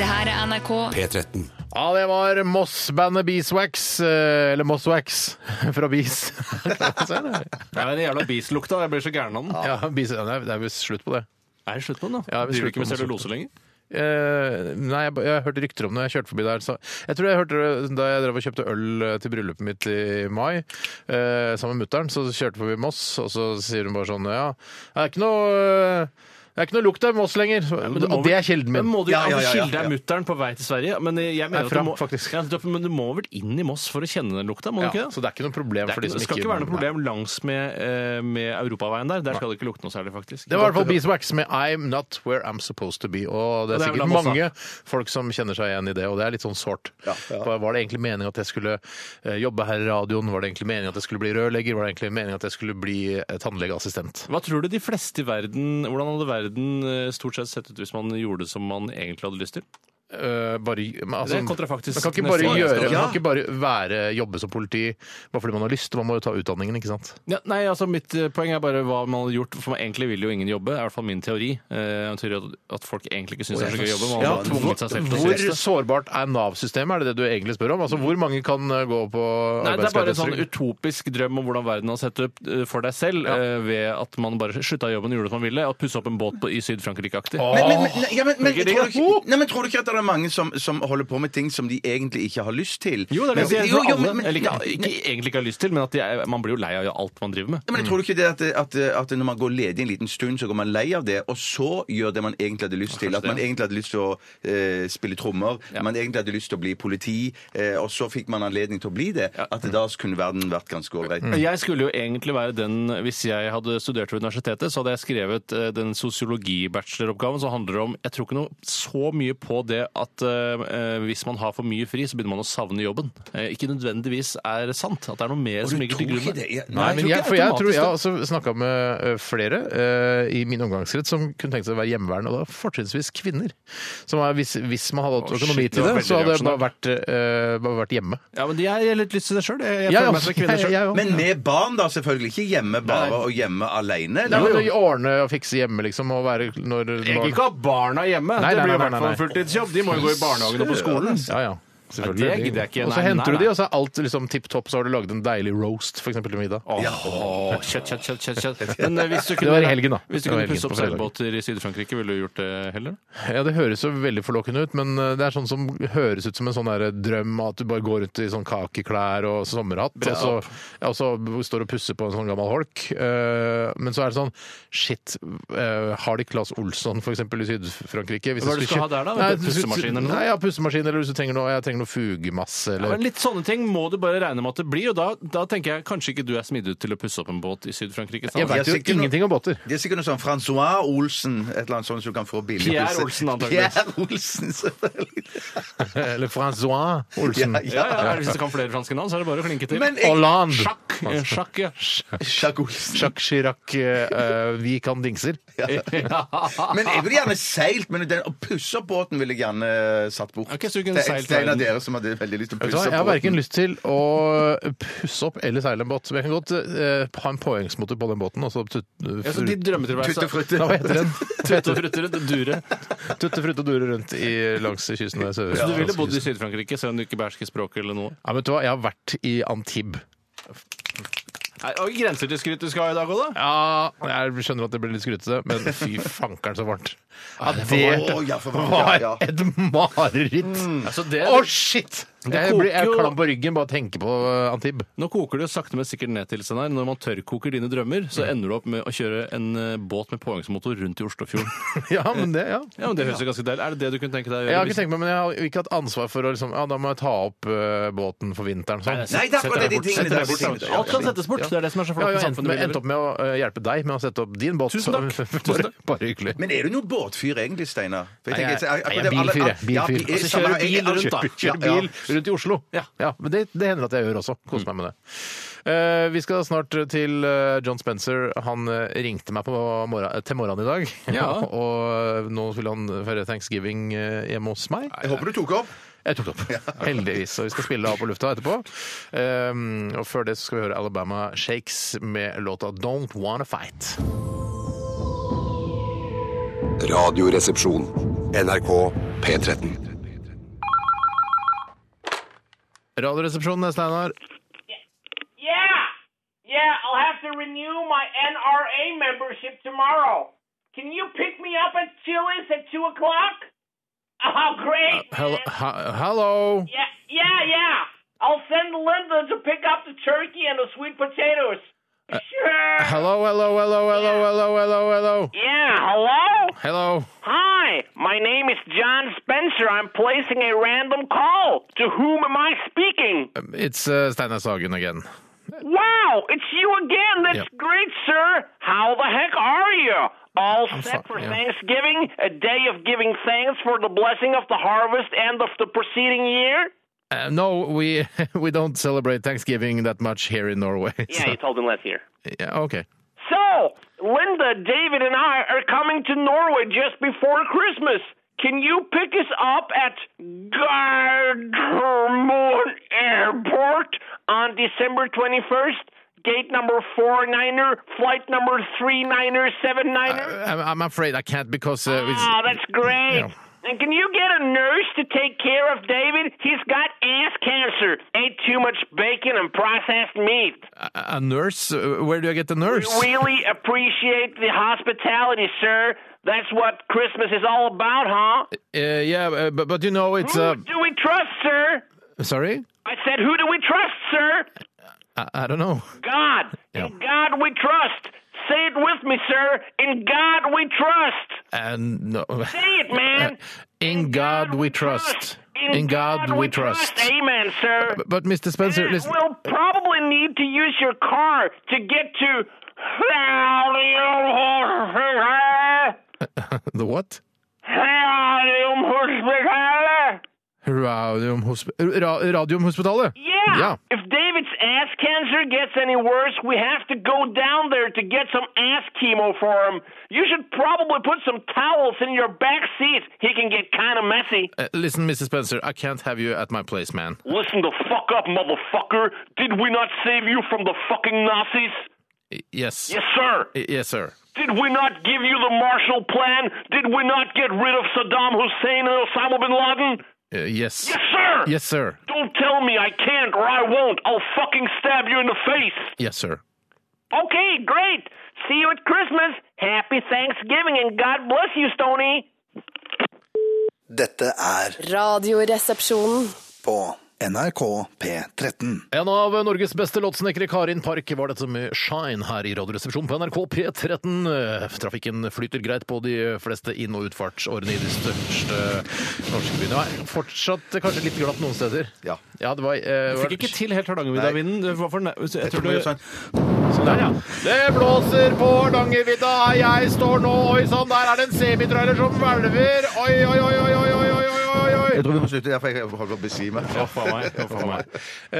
Det her er NRK.
P13.
Ja, det var Moss-bandet Beeswax. eh, Eller Mosswax fra Bees. Se der.
Det er den jævla bislukta. Jeg blir så gæren av den.
ja, bees, ja, det er- det er visst slutt på det.
Er det slutt på den, da?
Ja, vi
Driver
slutter
du ikke med
med
cellulose lenger?
Eh, nei, jeg, ba- jeg hørte rykter om det. Jeg kjørte forbi der. Så jeg tror jeg hørte det da jeg drev og kjøpte øl eh, til bryllupet mitt i mai eh, sammen med mutter'n. Så kjørte jeg forbi Moss, og så sier hun bare sånn Ja, det er ikke noe eh, det er ikke noe lukt av Moss lenger. og det er kilden min.
Men må du,
Ja, ja, ja, ja,
Kilde er
ja.
mutteren på vei til Sverige. Men jeg mener
Herfra,
at du må,
faktisk.
Ja, nettopp, men du må vel inn i Moss for å kjenne den lukta? må du
ja,
ikke det?
så det er ikke noe problem
Det er
for de
ikke,
som
det skal
ikke
ikke være noe problem langs med, eh, med europaveien der. Der skal det ikke lukte noe særlig, faktisk.
Det var i hvert fall Beeswax med I'm Not Where I'm Supposed To Be. Og det er
Og det er vel
sikkert
Amos, da.
mange folk som kjenner seg igjen i det, og det er litt sånn sårt. For Var det egentlig meningen at jeg skulle eh, jobbe her i radioen? Var det egentlig meningen at jeg skulle bli rørlegger? Var det egentlig meningen at jeg skulle bli eh, tannlegeassistent?
Hva tror du de fleste i verden Hvordan hadde verden eh, stort sett sett ut hvis man gjorde som man egentlig hadde lyst til?
Eh, bare, men altså,
Det er kontrafaktisk
Man kan ikke
neste
bare,
år.
gjøre,
Ja.
man kan ikke bare være, jobbe som politi bare fordi man har lyst. Man må jo ta utdanningen, ikke sant?
Ja, nei, altså Mitt eh, poeng er bare hva man hadde gjort. For man egentlig vil jo ingen jobbe. Det er i hvert fall min teori. Eh, en teori at, at folk egentlig ikke syns det er så gøy å jobbe. Man
Ja,
har bare tvunget seg selv til å
hvor
synes det.
sårbart er Nav-systemet? Er det det du egentlig spør om? Altså, Hvor mange kan eh, gå på
Nei, det er bare en sånn
arbeidsledighetstrygd?
utopisk drøm om hvordan verden har sett ut eh, for deg selv, eh, ved at man bare slutta i jobben og gjorde som man ville, og pussa opp en båt på, i Syd-Frankrike-aktig.
Men, men, men, ja, men, men,
Ikke det,
tror, du
da?
ikke, nei, men tror du ikke at det er mange som, som holder på med ting som de egentlig ikke har lyst til?
Jo, det er det
Men-
jeg sier.
jo,
For
jo,
alle,
men-
eller ikke,
nei,
ikke egentlig ikke har lyst til, men at de er, man blir jo lei av alt man driver med.
Ja, Men jeg tror du ikke det at, at, at når man går ledig en liten stund, så går man lei av det, og så gjør det man egentlig hadde lyst til. At man egentlig hadde lyst til å eh, spille trommer, man egentlig hadde lyst til å bli politi, eh, og så fikk man anledning til å bli det. At da kunne verden vært ganske ålreit.
Jeg skulle jo egentlig være den, hvis jeg hadde studert ved universitetet, så hadde jeg skrevet eh, den sosiologibacheloroppgaven som handler om Jeg tror ikke noe så mye på det at eh, eh, hvis man har for mye fri, så begynner man å savne jobben. Eh, ikke nødvendigvis er sant. At det er noe mer som ligger til grunn. der.
Ja,
Nei, men jeg,
ikke
for jeg tror jeg
automatisk
har også snakka med ø, flere ø, i min omgangskrets som kunne tenkt seg å være hjemmeværende, og da fortrinnsvis kvinner. Som er, hvis, hvis man hadde hatt
Å,
økonomi
shit, det
til
var
det, så
veldig
hadde jeg bare vært, ø, bare vært hjemme.
Ja, men jeg har litt lyst til det sjøl. Jeg, jeg
Jeg
føler
også,
meg som en kvinne
jeg-
selv.
jeg også.
Men med barn, da, selvfølgelig. Ikke hjemme bare og hjemme alene.
Nei,
eller?
men å Ordne og fikse hjemme, liksom, og være når
Jeg kan
når-
ikke ha barna hjemme.
Nei, nei,
det blir
nei,
i hvert
nei,
fall
nei.
en fulltidsjobb. De må jo gå i barnehagen og på skolen.
Ja, ja. Selvfølgelig.
Nei, det gidder jeg ikke.
Og så
Nei,
henter
nei,
du de,
nei.
og så er alt liksom tipp topp, så har du lagd en deilig roast, for eksempel, til middag.
Åh, kjøtt, kjøtt, kjøtt, kjøtt, kjøtt. Men eh, hvis du
Det
kunne,
var i helgen, da.
Hvis du
Det var i helgen,
kunne pusse
på
opp
fredag.
seilbåter i Syd-Frankrike, ville du gjort det heller?
Ja, Det høres jo veldig forlokkende ut, men det er sånn som høres ut som en sånn der drøm at du bare går rundt i sånn kakeklær og sommerhatt, og så, ja, og så står du og pusser på en sånn gammel holk. Eh, men så er det sånn Shit, eh, har de Claes Olsson for eksempel i Syd-Frankrike? Hvis
Hva
jeg
er det du skal
skulle-
ha der, da?
Nei,
Pussemaskin eller noe?
Nei, ja, pussemaskin, eller hvis du trenger noe, jeg trenger noe fugemasse,
Ja,
eller
men litt sånne ting må du bare regne med at det blir, og da, da tenker jeg kanskje ikke du er smidd ut til å pusse opp en båt i Syd-Frankrike. sant?
Jeg vet
Jeg
jo
sitter nå-
ingenting om båter.
Det er sikkert noe sånn Francois Olsen, et eller annet sånt som du kan få billig.
Pierre Olsen, antageligvis.
Pierre Olsen, selvfølgelig.
Eller Francois Olsen.
Ja,
Ja, ja, Hvis du kan flere franske navn, så er det bare å klinke til.
Men jeg-
Hollande.
Sjakk! eh, Sjakk, ja.
Jacques Olsen.
Jacques Chirac, eh, eh, vi kan dingser.
Men jeg ville gjerne seilt, men den, å pusse opp båten ville jeg gjerne eh, satt bort.
Ok, så du kunne
det er
seilt
det er en av
verden.
dere som hadde veldig lyst til å
Vet du hva,
pusse
Jeg har
opp
verken
båten.
lyst til å pusse opp eller seile en båt. Men jeg kan godt eh, ha en påhengsmotor på den båten. Og så tut,
Ja, så
Tutt
de
og
drømmetilværelser
frutte.
Nei, hva heter den?
Tutte og frutte rundt duret.
Tutte frutte og dure rundt i, langs kysten. Der, sør,
Så du ville bodd i Syd-Frankrike, selv om du ikke behersker språket eller noe?
ja, men vet du hva, Jeg har vært i Antibes.
Nei, og Grenser til skryt du skal ha i dag òg, da?
Ja, jeg skjønner at det blir litt skrutete, men fy fankeren så varmt. Ja,
Å, ja, for varmt,
var
ja, ja.
et mareritt. Å,
Altså, det-
shit!
Det
Jeg blir jeg er
koker jo-
klam på ryggen bare av å tenke på eh, Antibes.
Nå koker det jo sakte, men sikkert ned til seg der. Når man tørrkoker dine drømmer, så ender du opp med å kjøre en eh, båt med påhengsmotor rundt i Oslofjorden.
Ja, men det, ja.
Ja, men det høres jo ganske deilig Er det det du kunne tenke deg å gjøre?
Jeg har ikke tenkt meg, men jeg har ikke hatt ansvar for å liksom, ja, da må jeg ta opp eh, båten for vinteren. Sånn.
Nei,
Nei, det er akkurat det de tingene der.
Hvis- Alt kan settes bort. Det er det som er
Ja,
så flott
jeg
med
har endt,
samfunnet.
med,
vi
endt
lever
opp med å eh, hjelpe deg med å sette opp din båt.
Tusen takk. Tusen
bare,
takk.
bare hyggelig.
Men er du noe båtfyr egentlig, Steinar? For
Nei, jeg-
tenker-
nei, jeg er
alle-
bilfyr, jeg.
Ja,
Bilfyr.
jeg-
Altså,
samme-
kjører
jeg-
bil
alle
rundt, da.
kjører-
Kjøre
ja, ja.
bil rundt i Oslo.
Ja.
men det, det hender at jeg gjør også. Kos meg med det. Eh, vi skal snart til eh, John Spencer. Han eh, ringte meg på morgen, til morgenen i dag.
Ja.
og nå skulle han feire thanksgiving eh, hjemme hos meg.
Jeg håper du tok opp.
Jeg tok det opp. Heldigvis. Og vi skal spille det av på lufta etterpå. Um, og før det så skal vi høre Alabama Shakes med låta Don't Wanna Fight.
Radioresepsjon.
NRK P13.
Radioresepsjonen, Steinar.
Yeah. Yeah, I'll have to renew my NRA membership tomorrow. Can you pick me up at Chili's at 2 o'clock? Oh, great.
Uh, Hello.
man.
ha- Hello.
Yeah, yeah, yeah. I'll send Linda to pick up the turkey and the sweet potatoes. Sure.
Hello, hello, hello, hello, hello, hello, hello.
Yeah, hello?
Hello.
Hi, my name is John Spencer. I'm placing a random call. To whom am I speaking?
Um, It's uh, Steinar Sagen again.
Wow, it's you again. That's
Yep.
great, sir. How the heck are you? All set
fi-
for
yeah.
Thanksgiving, a day of giving thanks for the blessing of the harvest and of the preceding year?
Uh, no, we we don't celebrate Thanksgiving that much here in Norway.
Yeah, you told him last year.
So, yeah, okay.
So, Linda, David, and I are coming to Norway just before Christmas. Can you pick us up at Gardermoen Airport on December 21st? Gate number 49er, flight number 39er79er?
I'm, I'm afraid I can't because uh, it's,
Oh, that's great.
Yeah.
And can you get a nurse to take care of David? He's got ass cancer. Ate too much bacon and processed meat.
a a nurse. Uh, Where do I get the nurse?
We really appreciate the hospitality, sir. That's what Christmas is all about, huh?
Uh, yeah, uh, but, but you know it's.
Who
Uh,
do we trust, sir?
sorry,
I said, who do we trust, sir?
I, I don't know.
God.
Yeah.
In God we trust. Say it with me, sir. In God we trust.
And no.
Say it, man.
Uh, In God we trust. In God we trust.
Amen, sir.
But, but Mr. Spencer, listen.
We'll probably need to use your car to get to.
The what? Radium hosp Ra Radiumhospitalet.
Yeah.
Ja.
If David's ass cancer gets any worse, we have to go down there to get some ass chemo for him. You should probably put some towels in your back seat. He can get kind of messy.
Uh, listen, Mr. Spencer, I can't have you at my place, man.
Listen the fuck up, motherfucker. Did we not save you from the fucking Nazis?
Y- Yes.
Yes, sir.
Y- Yes, sir.
Did we not give you the Marshall Plan? Did we not get rid of Saddam Hussein and Osama bin Laden?
Uh, yes.
Yes, sir.
Yes, sir.
Don't tell me I can't or I won't. I'll fucking stab you in the face.
Yes, sir.
Okay, great. See you at Christmas. Happy Thanksgiving and God bless you, Stony.
Dette er
Radioresepsjonen.
på NRK P13.
En av Norges beste låtsnekkere, Karin Park, var dette med Shine her i Radioresepsjonen på NRK P13. Eh, Trafikken flyter greit på de fleste inn- og utfartsårene i de største norske byene. Nei, Fortsatt kanskje litt glatt noen steder.
Ja.
det var, eh,
Du fikk ikke til helt Hardangervidda-vinden. Det var for nær- Jeg tror du
Sånn der, ja. Det blåser på Hardangervidda. Jeg står nå Oi sann, der er det en semitrailer som hvelver. Oi, oi, oi, oi, oi, oi, oi, oi, oi.
Jeg tror vi må slutte, der, for jeg holder på å besvime.
Ja, faen meg. Ja, faen meg.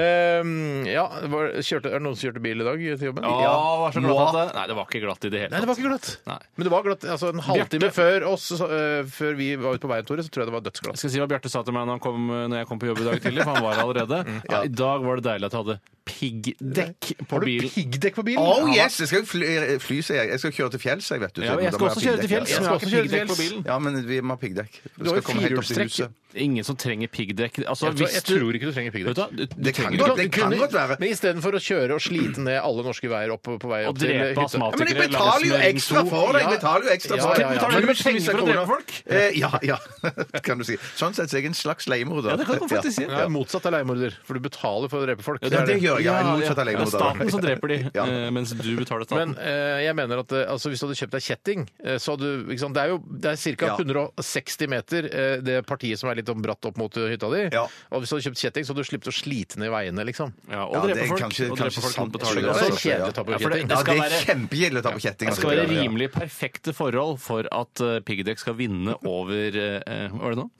Um, ja, var, kjørte, er det noen som kjørte bil i dag til jobben?
Ja, var så glatt at det Nei, det var ikke glatt i det hele
Nei,
tatt.
det var ikke glatt.
Nei.
Men det var glatt. altså En halvtime før oss, så, øh, før vi var ute på veien, Tore, så tror jeg det var
Jeg
dødsglatt.
skal si hva Bjarte sa til meg når, han kom, når jeg kom på jobb i dag tidlig, for han var her allerede. Ja, I dag var det deilig at jeg hadde piggdekk på
Har du
bilen.
piggdekk på bilen?
Oh yes! Jeg skal ikke fly, fly sier jeg. Jeg skal kjøre til fjells, jeg, vet du.
Ja,
Så da
jeg skal
må
også
ha
kjøre til
piggdekk.
fjells, men jeg har ikke
Jeg skal også
piggdekk
kjøre
på
til
bilen.
Ja, men vi må ha piggdekk.
Du har jo firehjulstrekk.
huset.
Ingen som trenger piggdekk. Altså,
Jeg tror, jeg
hvis du-
tror ikke du trenger
Vet
piggdekk.
du hva, du- du
Det kan
trenger
godt-
ikke-
det kan godt være.
Men istedenfor å kjøre og slite ned alle norske veier opp på vei
Å
opp til
drepe
hytta.
astmatikere.
Men jeg betaler jo ekstra for det! Jeg betaler jo ekstra
Ja,
for det.
ja, ja.
Betaler du
Men
mye penger for å drepe folk?
Eh, ja, ja, kan du si. Sånn sett så er jeg en slags leiemorder.
Ja, det kan du faktisk si.
Nei, motsatt av leiemorder, for du betaler for å drepe folk.
Ja, det gjør jeg. Jeg er
Ja,
motsatt av
Det er
leiemorder.
staten som dreper de,
Ja.
eh, mens du betaler
Men
staten.
eh, jeg mener at eh, altså, hvis du hadde kjøpt deg kjetting eh, så hadde, du- ikke sant, Det er jo det er ca.
Ja.
160 meter eh, det partiet som er litt om bratt opp mot eh, hytta di.
Ja.
Og hvis du hadde kjøpt kjetting, så hadde du sluppet å slite ned veiene, liksom.
Ja, og
Ja,
drepe
det er
folk.
kanskje-
og drepe
kanskje
folk
sant.
mot betaling.
Ja,
Det
det
er
også.
sant.
kjedelig å ta på
Ja, for det-
kjetting.
Ja,
skal
det er
være-
kjempegildt å ta på kjetting.
Det
altså.
skal være
Ja, ja, ja.
rimelig perfekte forhold for at eh, piggdekk skal vinne over eh, Hva var det nå?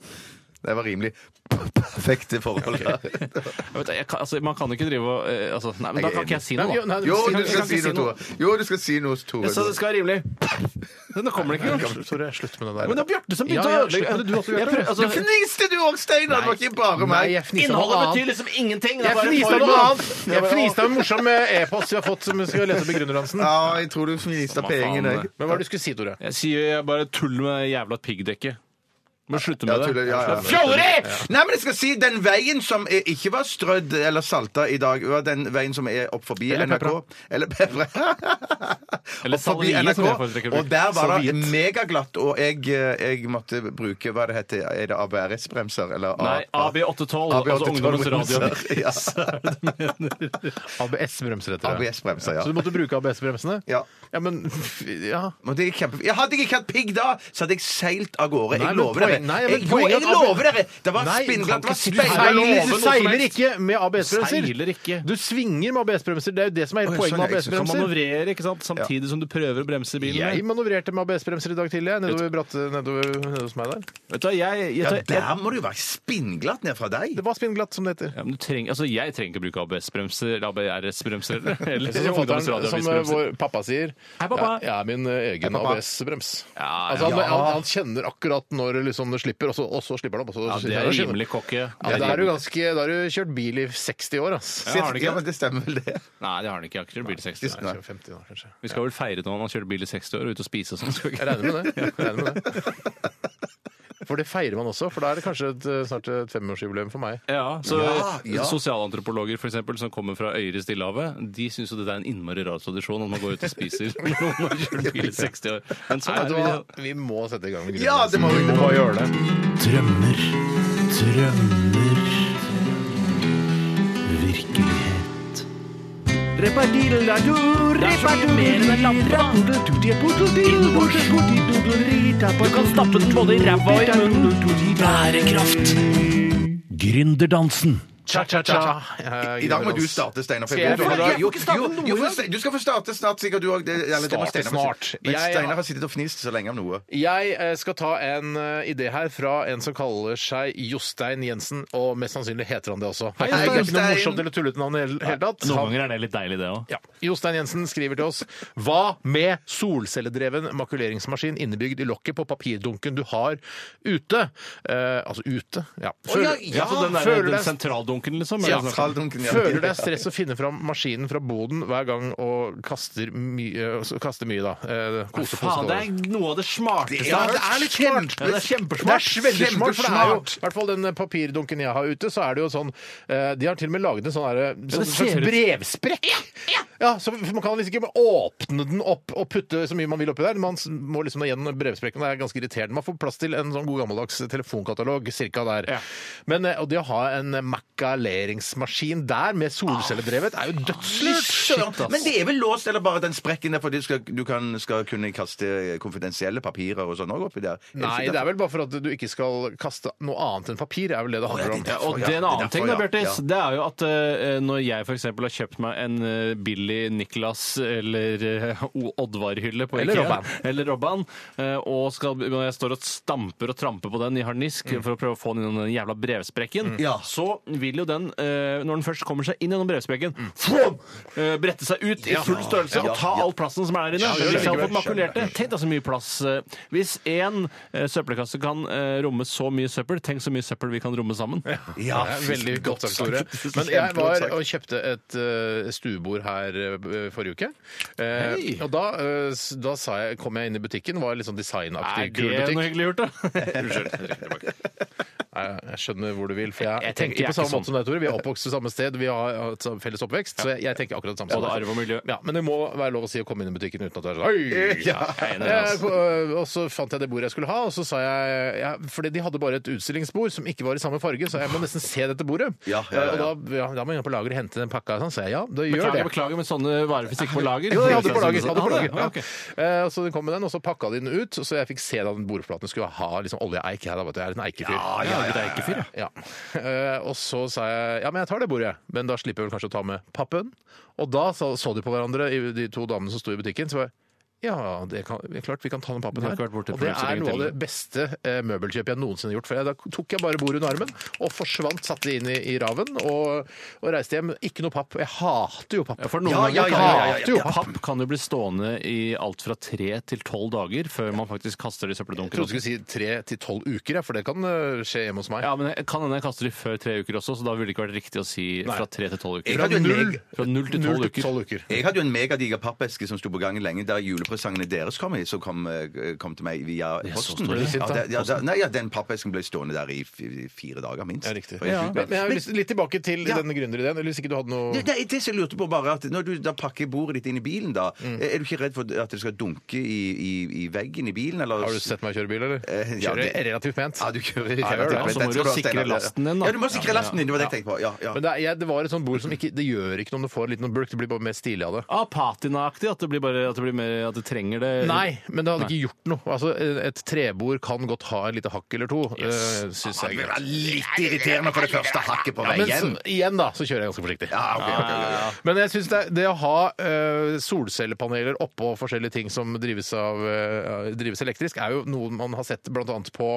Det var rimelig perfekte forhold.
Jeg vet, jeg kan, altså, man kan ikke drive og eh, altså, Nei, men
Jeg
da
er
kan ikke jeg si
Nei,
noe,
jo, nei,
da.
du-
Jo,
Jeg kan ikke
du skal si noe, Tore. Jo, du skal si noe, Tore.
Jeg sa det skal være rimelig. Men da kommer det ikke engang.
Tore, slutt med den der.
Men det var Bjarte
Ja,
som begynte
ja,
å ødelegge.
slutt med det, du også, Bjarte.
Jeg prøver- altså,
Du fniste du òg, Steinar! Det var ikke bare
Nei,
meg.
jeg fniste av noe
Innholdet betyr
annet.
liksom ingenting. Det er
Jeg
bare
fniste av noe
formen.
annet! Jeg fniste av en morsom eh, e-post vi har fått som vi skal lese begrunner, Hansen.
Ja, jeg tror du fniste av
Hva faen, eh.
pengene, jeg.
det.
Men hva er det du skulle si, Tore?
Jeg sier jeg bare tuller med det jævla piggdekket. Må slutte
Ja,
med
tuller,
det.
ja, ja.
Fjolleri!
Nei, men jeg skal si Den veien som eh, ikke var strødd eller salta i dag, var den veien som er opp forbi
Eller
NRK. Eller pepper.
Eller
Opp forbi
salvie,
NRK.
som jeg foretrekker å bruke.
Og der var det
Salviet.
megaglatt, og jeg, eh, jeg måtte bruke Hva det heter Er det ABRS-bremser? Eller
Nei, AB812, altså Ungdommens Radio.
Ja.
ABS-bremser heter det.
ABS-bremser,
Så du
ja.
måtte bruke ABS-bremsene?
Ja.
ja, men ja.
Men det er kjempe... jeg hadde jeg ikke hatt pigg da, så hadde jeg seilt av gårde.
Nei,
Jeg
men
lover dere.
poen- nei, men
Jeg, jo,
poenget er
jeg
at-
lover dere! Det var
Nei,
spinnglatt. Det
kan
var
ikke du
speil-
seiler,
love noe som
seiler
helst.
ikke med ABS-bremser.
Seiler ikke.
Du svinger med ABS-bremser. Det er jo det som er
Oi,
hele poenget
sånn,
med
jeg-
Du
ABS-bremser.
manøvrere ikke sant? samtidig som du prøver å bremse bilen.
Jeg
med.
manøvrerte med ABS-bremser i dag tidlig. jeg, Nedover, bratte, nedover, nede hos meg der.
Vet du hva, jeg, jeg,
Ja,
jeg, jeg,
der må det jo være spinnglatt ned fra deg.
Det var spinnglatt, som det heter.
ja, men du trenger, altså, jeg trenger ikke å bruke ABS-bremser, eller ABRS-bremser, eller, eller
Som, fatteren,
Ungdommens
som eh,
radioavis-bremser.
vår pappa sier.
Hei, pappa.
Jeg, jeg er min eh, egen ABS-brems.
Ja,
Altså, han,
ja.
han, han kjenner akkurat når liksom, det slipper, og så, og så slipper han. Og så,
Ja, det er rimelig kokke.
Ja, da har du, ganske, da har du kjørt bil i 60 år, ass.
Ja, har han ikke?
Ja, men det stemmer vel det.
Nei, det har han ikke. Jeg har ikke kjørt bil i 60 år.
Nei, kjørt 50 år, kanskje.
Vi skal vel feire nå han kjørte bil i 60 år og ut og spise og sånn. skal vi ikke?
Jeg regner med det. Jeg regner med det. For det feirer man også, for da er det kanskje et, eh, snart et femårsjubileum for meg.
Ja, så
Ja, ja.
Sosialantropologer for eksempel, som kommer fra øyer i Stillehavet, de syns jo det er en innmari rar tradisjon at man går ut og spiser når noen har kjørt bil i 60 år. Men sånn
Vet
er
du
det.
hva?
vi-
Vi må sette i gang med
Ja, det må vi-
må gjøre det.
Drømmer, drømmer Virkelighet Du kan stappe den både i ræva og i munnen Bærekraft Gründerdansen
Cha-cha-cha.
I dag må du starte, Steinar. for
Skal jeg
vet-
få det?
Jo, jo, jo, for Ste- du skal få starte snart, sikkert du òg.
Starte snart.
Men
Jeg-
Steinar har sittet og fnist så lenge om noe.
Jeg eh, skal ta en eh, idé her fra en som kaller seg Jostein Jensen, og mest sannsynlig heter han det også. Hei, det er ikke noe
Jostein.
morsomt eller tullete navn i det hele tatt.
Noen
Han-
ganger er det litt deilig, det òg.
Ja. Jostein Jensen skriver til oss Hva med solcelledreven makuleringsmaskin innebygd i lokket på papirdunken du har ute? Eh, altså ute, ja. Føler,
Ja, så den, der,
føler
den
deg
sentraldunken, liksom?
Ja.
er det sånn?
Traldunken, ja.
Føler det er stress å finne fram maskinen fra boden hver gang og kaster mye, eh, kaster mye da. Eh, Kose, kose,
Faen, det
kose.
er noe av det smarteste jeg
Ja,
har
det er
hørt.
litt smart.
Ja, det er
Det
kjempesmart.
er veldig smart, for det er jo,
Kjempesmart.
i hvert fall den eh, papirdunken jeg har ute, så er det jo sånn eh, De har til og med laget en sånn derre- sånn
det ser
slags
ut-
brevsprekk. Ja, så Man kan liksom ikke åpne den opp og putte så mye man vil oppi der. Man s- må liksom gjennom brevsprekken. Det er ganske irriterende. Man får plass til en sånn god gammeldags telefonkatalog cirka der.
Ja.
Men eh, og det å ha en makaleringsmaskin der med solcelledrevet er jo dødslurt.
Søren, Men det er vel låst, eller bare den sprekken der, for du skal, du kan, skal kunne kaste konfidensielle papirer og sånn òg oppi der?
Nei, det er vel bare for at du ikke skal kaste noe annet enn papir. er vel det det handler om.
det er derfor,
Og det er en
ja.
annen ting, da,
derfor, ja.
Bjørtis, det er jo at eh, når jeg f.eks. har kjøpt meg en eh, billig Niklas eller eh, O- Oddvar-hylle på
Eller
IKEA,
Robban.
eller Robban, eh, og skal, når jeg står og stamper og tramper på den i harnisk for å prøve å få den gjennom den jævla brevsprekken,
Ja.
så vil vil jo den, eh, når den først kommer seg inn gjennom brevsprekken, fwom, eh, brette seg ut i
Ja.
full størrelse
Ja.
og ta
Ja.
all plassen som er der inne.
Ja,
Hvis jeg hadde fått
skjønner.
makulert det, tenk da så mye plass. eh, Hvis én eh, søppelkasse kan eh, romme så mye søppel, tenk så mye søppel vi kan romme sammen.
Ja, det er veldig godt sagt, Tore. Men jeg var og kjøpte et eh, stuebord her eh, forrige uke. Eh, og da, eh, s- da sa jeg, kom jeg inn i butikken, var litt sånn
Er
designaktig, kul
det
butikk.
noe hyggelig gjort, da?
Unnskyld. Nei, Jeg skjønner hvor du vil, for jeg,
Jeg tenker
tenker
jeg
på samme
ikke sånn.
måte som deg, Tore. Vi er oppvokst i samme sted, vi har hatt sam- felles oppvekst, så jeg, jeg tenker akkurat det samme. som
Både
deg.
arv og miljø.
Ja, men det må være lov å si å komme inn i butikken uten at du er sånn Oi!
jeg er enig i det,
Eh,
altså.
på- eh, Og så fant jeg det bordet jeg skulle ha, og så sa jeg ja, Fordi de hadde bare et utstillingsbord som ikke var i samme farge, så jeg må nesten se dette bordet.
Ja, ja, ja,
Eh,
ja.
Og da, ja, da må jeg inn på lageret og hente den pakka, sånn, sa jeg ja, da gjør
Beklager,
det.
beklager, men sånne varer hvis ikke på lager
Jo, jeg hadde på lager.
Ja,
Hadde på lager
det-
ja.
ja, ok.
Eh, og Så den kom med den, og så pakka de den ut. Så jeg fikk se da den bordplaten skulle ha liksom oljeeik. Jeg, da, vet du, jeg er en eikefyr.
Ja, jeg er en eikefyr,
ja. Eh, Og så sa jeg ja, men jeg tar det bordet, men da slipper jeg vel kanskje å ta med pappen. Og da så, så de på hverandre, i- de to damene som sto i butikken. så var jeg, ja, det kan, det er klart vi kan ta den pappen
Det har
her.
ikke vært
Og
borte
det
for så
er
lenge
noe av
til.
det beste eh, møbelkjøpet jeg noensinne har gjort. For jeg, da tok jeg bare bordet under armen og forsvant, satte det inn i, i raven og, og reiste hjem. Ikke noe papp. Jeg hater jo papp.
Ja, for noen
Ja,
ganger
ja,
kan-
ja, ja, ja,
hater jo
ja.
papp kan jo bli stående i alt fra tre til tolv dager før man faktisk kaster det i
Jeg trodde du
søppeldunken.
skulle si tre til tolv uker, ja, for det kan øh, skje hjemme hos meg.
Ja, men jeg kan hende jeg kaster de før tre uker også, så da ville det ikke vært riktig å si fra tre til tolv uker.
Jeg hadde jo en
null-
meg-
Fra null til tolv
Null
uker.
uker.
Jeg hadde jo en megadiger pappeske som sto på gangen lenge, der julepresangene deres kom i, som kom, eh, kom til meg via
er så
posten.
stor, det er
ja,
fint, da.
det- ja, det- nei, ja, den pappesken ble stående der i f- fire dager, minst.
Ja, riktig.
Og jeg
Men,
fikk-
men jeg har lyst, litt tilbake til
Ja.
den gründerideen. Eller hvis ikke du hadde noe
Det, det, det som jeg lurte på bare at Når du da pakker bordet ditt inn i bilen, da, er du ikke redd for at det skal dunke i, i, i veggen i bilen? Eller?
Har du sett meg kjøre bil, eller?
Eh, ja,
Kjører
det-
relativt pent.
Ja, du kjører
Ja, jeg gjør det.
relativt-
Så må
Den
du
skal ha,
sikre
Steinar.
lasten din, da.
Ja, du må
Ja,
sikre
ja.
lasten din. Det var det jeg tenkte på. Ja, ja.
Men det, er, jeg, det var et sånt bord som ikke Det gjør ikke noe om du får litt noe bulk, det blir bare mer stilig av det.
Ah, patinaaktig, at det blir bare at det, blir mer, at det trenger det.
Nei, men det hadde ikke gjort noe. Altså, Et trebord kan godt ha et lite hakk eller to.
Yes.
øh, synes jeg er
Det
greit.
var litt irriterende for det første hakket på vei
men
hjem.
så- igjen, da, så kjører jeg ganske forsiktig.
Ja, ok, ok, ok, ok.
Men jeg synes det, det å ha eh, solcellepaneler oppå forskjellige ting som drives, av, eh, drives elektrisk, er jo noe man har sett bl.a. på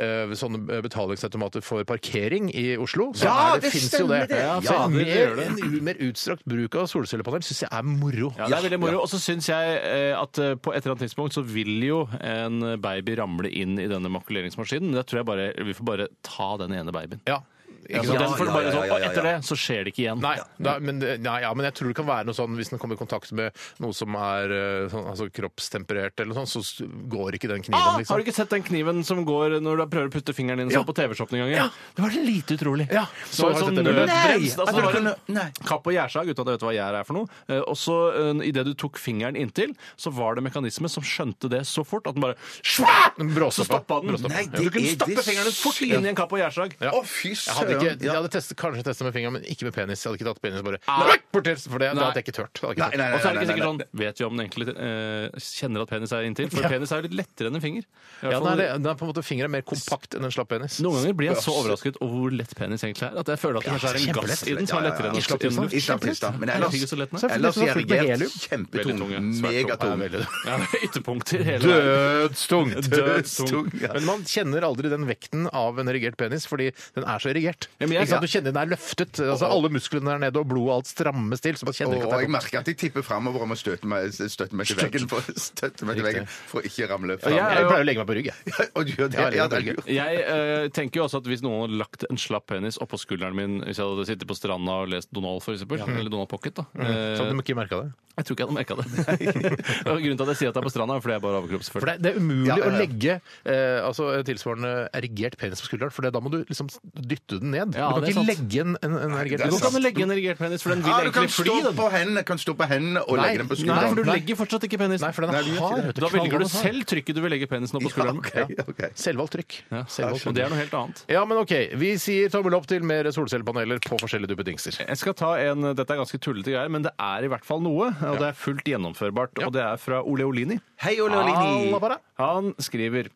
eh, sånne betalingsautomater for parkering i Oslo. Så
Ja,
er det,
det
finnes jo
stemmer
det.
det. Ja,
så
fader, det gjør
mer,
det.
en mer utstrakt bruk av solcellepanel syns jeg er moro.
Ja, det er veldig moro. Og så syns jeg eh, at eh, på et eller annet tidspunkt så vil jo en baby ramle inn i denne makuleringsmaskinen. Men jeg tror jeg bare vi får bare ta den ene babyen.
Ja, ikke
Altså,
sant?
den får
Ja,
bare
ja,
sånn,
ja, ja,
Og
ja.
etter det så skjer det ikke igjen.
Nei, da, men, det- nei, ja, men jeg tror det kan være noe sånn hvis den kommer i kontakt med noe som er eh, sånn, altså, kroppstemperert, eller sånn, så s- går ikke den kniven.
Ah,
liksom.
har du ikke sett den kniven som går når du prøver å putte fingeren din sånn på TV-shoppen en gang? Det var lite utrolig.
Ja,
Så
har jeg
sånn
sett det.
nødbrems.
Nei, at
Altså, det
du
var en
kunne- nei.
kapp og gjærsag uten at jeg vet hva gjær er for noe. Eh, Og så eh, idet du tok fingeren inntil, så var det mekanisme som skjønte det så fort at den bare Svær!
Den bråstoppa.
Så stoppa den.
Bråstoppa.
Nei,
Du
det
kunne
er
stappe
det
fingeren din fort
sykt.
inn i en kapp og gjærsag.
Ja.
Å, fy
Jeg hadde, ikke,
søren! Ja.
jeg hadde testet, kanskje testet med fingeren, men ikke med penis. Jeg hadde ikke tatt penis bare Rett bort til, for det, da hadde jeg ikke tørt. Det hadde jeg ikke tørt.
Nei, nei,
Og så er det ikke
nei,
sikkert
nei,
sånn Vet vi om den egentlig eh, kjenner at penis er inntil? For penis er jo litt lettere enn en finger. I hvert
Ja,
fall-
den er, det- den er på en måte fingeren er mer kompakt enn en slapp penis.
Noen ganger blir jeg så overrasket over hvor lett penis egentlig er, at jeg føler at det kanskje er en gass i den som er lettere enn
Islapista.
enn luft.
Islapista. Men
Er det
ellers,
ikke så lett, nei?
ellers
Islapista er fullt med
erigert.
helium.
Veldig tung,
Kjempetung.
ja. Svært
Megatung.
Ja, veldig.
Ja, det er ytterpunkter hele veien.
Dødstungt!
Dødstungt,
ja.
Men man kjenner aldri den vekten av en erigert penis, fordi den er så erigert.
Ja, men jeg-
ikke sant? Du kjenner den er løftet. Altså, alle musklene der nede og blodet og alt strammes til. Så man kjenner ikke at
Og
det er
jeg merker at jeg tipper framover om å støte meg, støtte meg til veggen for, støtte meg til veggen for å ikke ramle fram.
Ja,
Jeg pleier å legge meg på rygg, jeg.
Og du gjør det?
Ja, eller
Ja, det er
Norge.
lurt.
Jeg eh, tenker jo også at hvis noen hadde lagt en slapp penis oppå skulderen min hvis jeg hadde sittet på stranda og lest Donald, for eksempel, eller Donald Pocket, da eh,
Så Sånn du må ikke merke det.
Jeg tror ikke jeg hadde merka det. Og Grunnen til at jeg sier at det er på stranda, er fordi jeg bare er
For
overkroppsfull.
det, det er umulig
Ja, ja, ja.
å legge eh, altså, tilsvarende erigert penis på skulderen, for det, da må du liksom dytte den ned.
Ja,
du kan
det er
ikke
sant.
legge en, en, en erigert
Du
penis.
kan ikke legge en erigert penis, for den vil
Ja, Ah, du kan
egentlig
stå
fly. den.
på hendene, kan stå på hendene og legge den på
Nei,
skulderen.
for du
Nei.
legger fortsatt ikke penis.
Nei, for den
Nei,
er
du gjør ikke
hard.
det.
Da velger du
Knallhard.
selv trykket du vil legge penisen opp på
Ja,
skulderen.
ok,
Ja,
ok.
Selvvalgt trykk.
Ja,
Selvvalgt
Og det er noe helt annet.
Ja, men OK. Vi sier tommel opp til mer solcellepaneler på forskjellige duppedingser.
Jeg skal ta en, Dette er ganske tullete greier, men det er i hvert fall noe. Og det er fullt gjennomførbart. Og det er fra Ole Olini.
Hei, Ole Olini.
Alla bare.
Han skriver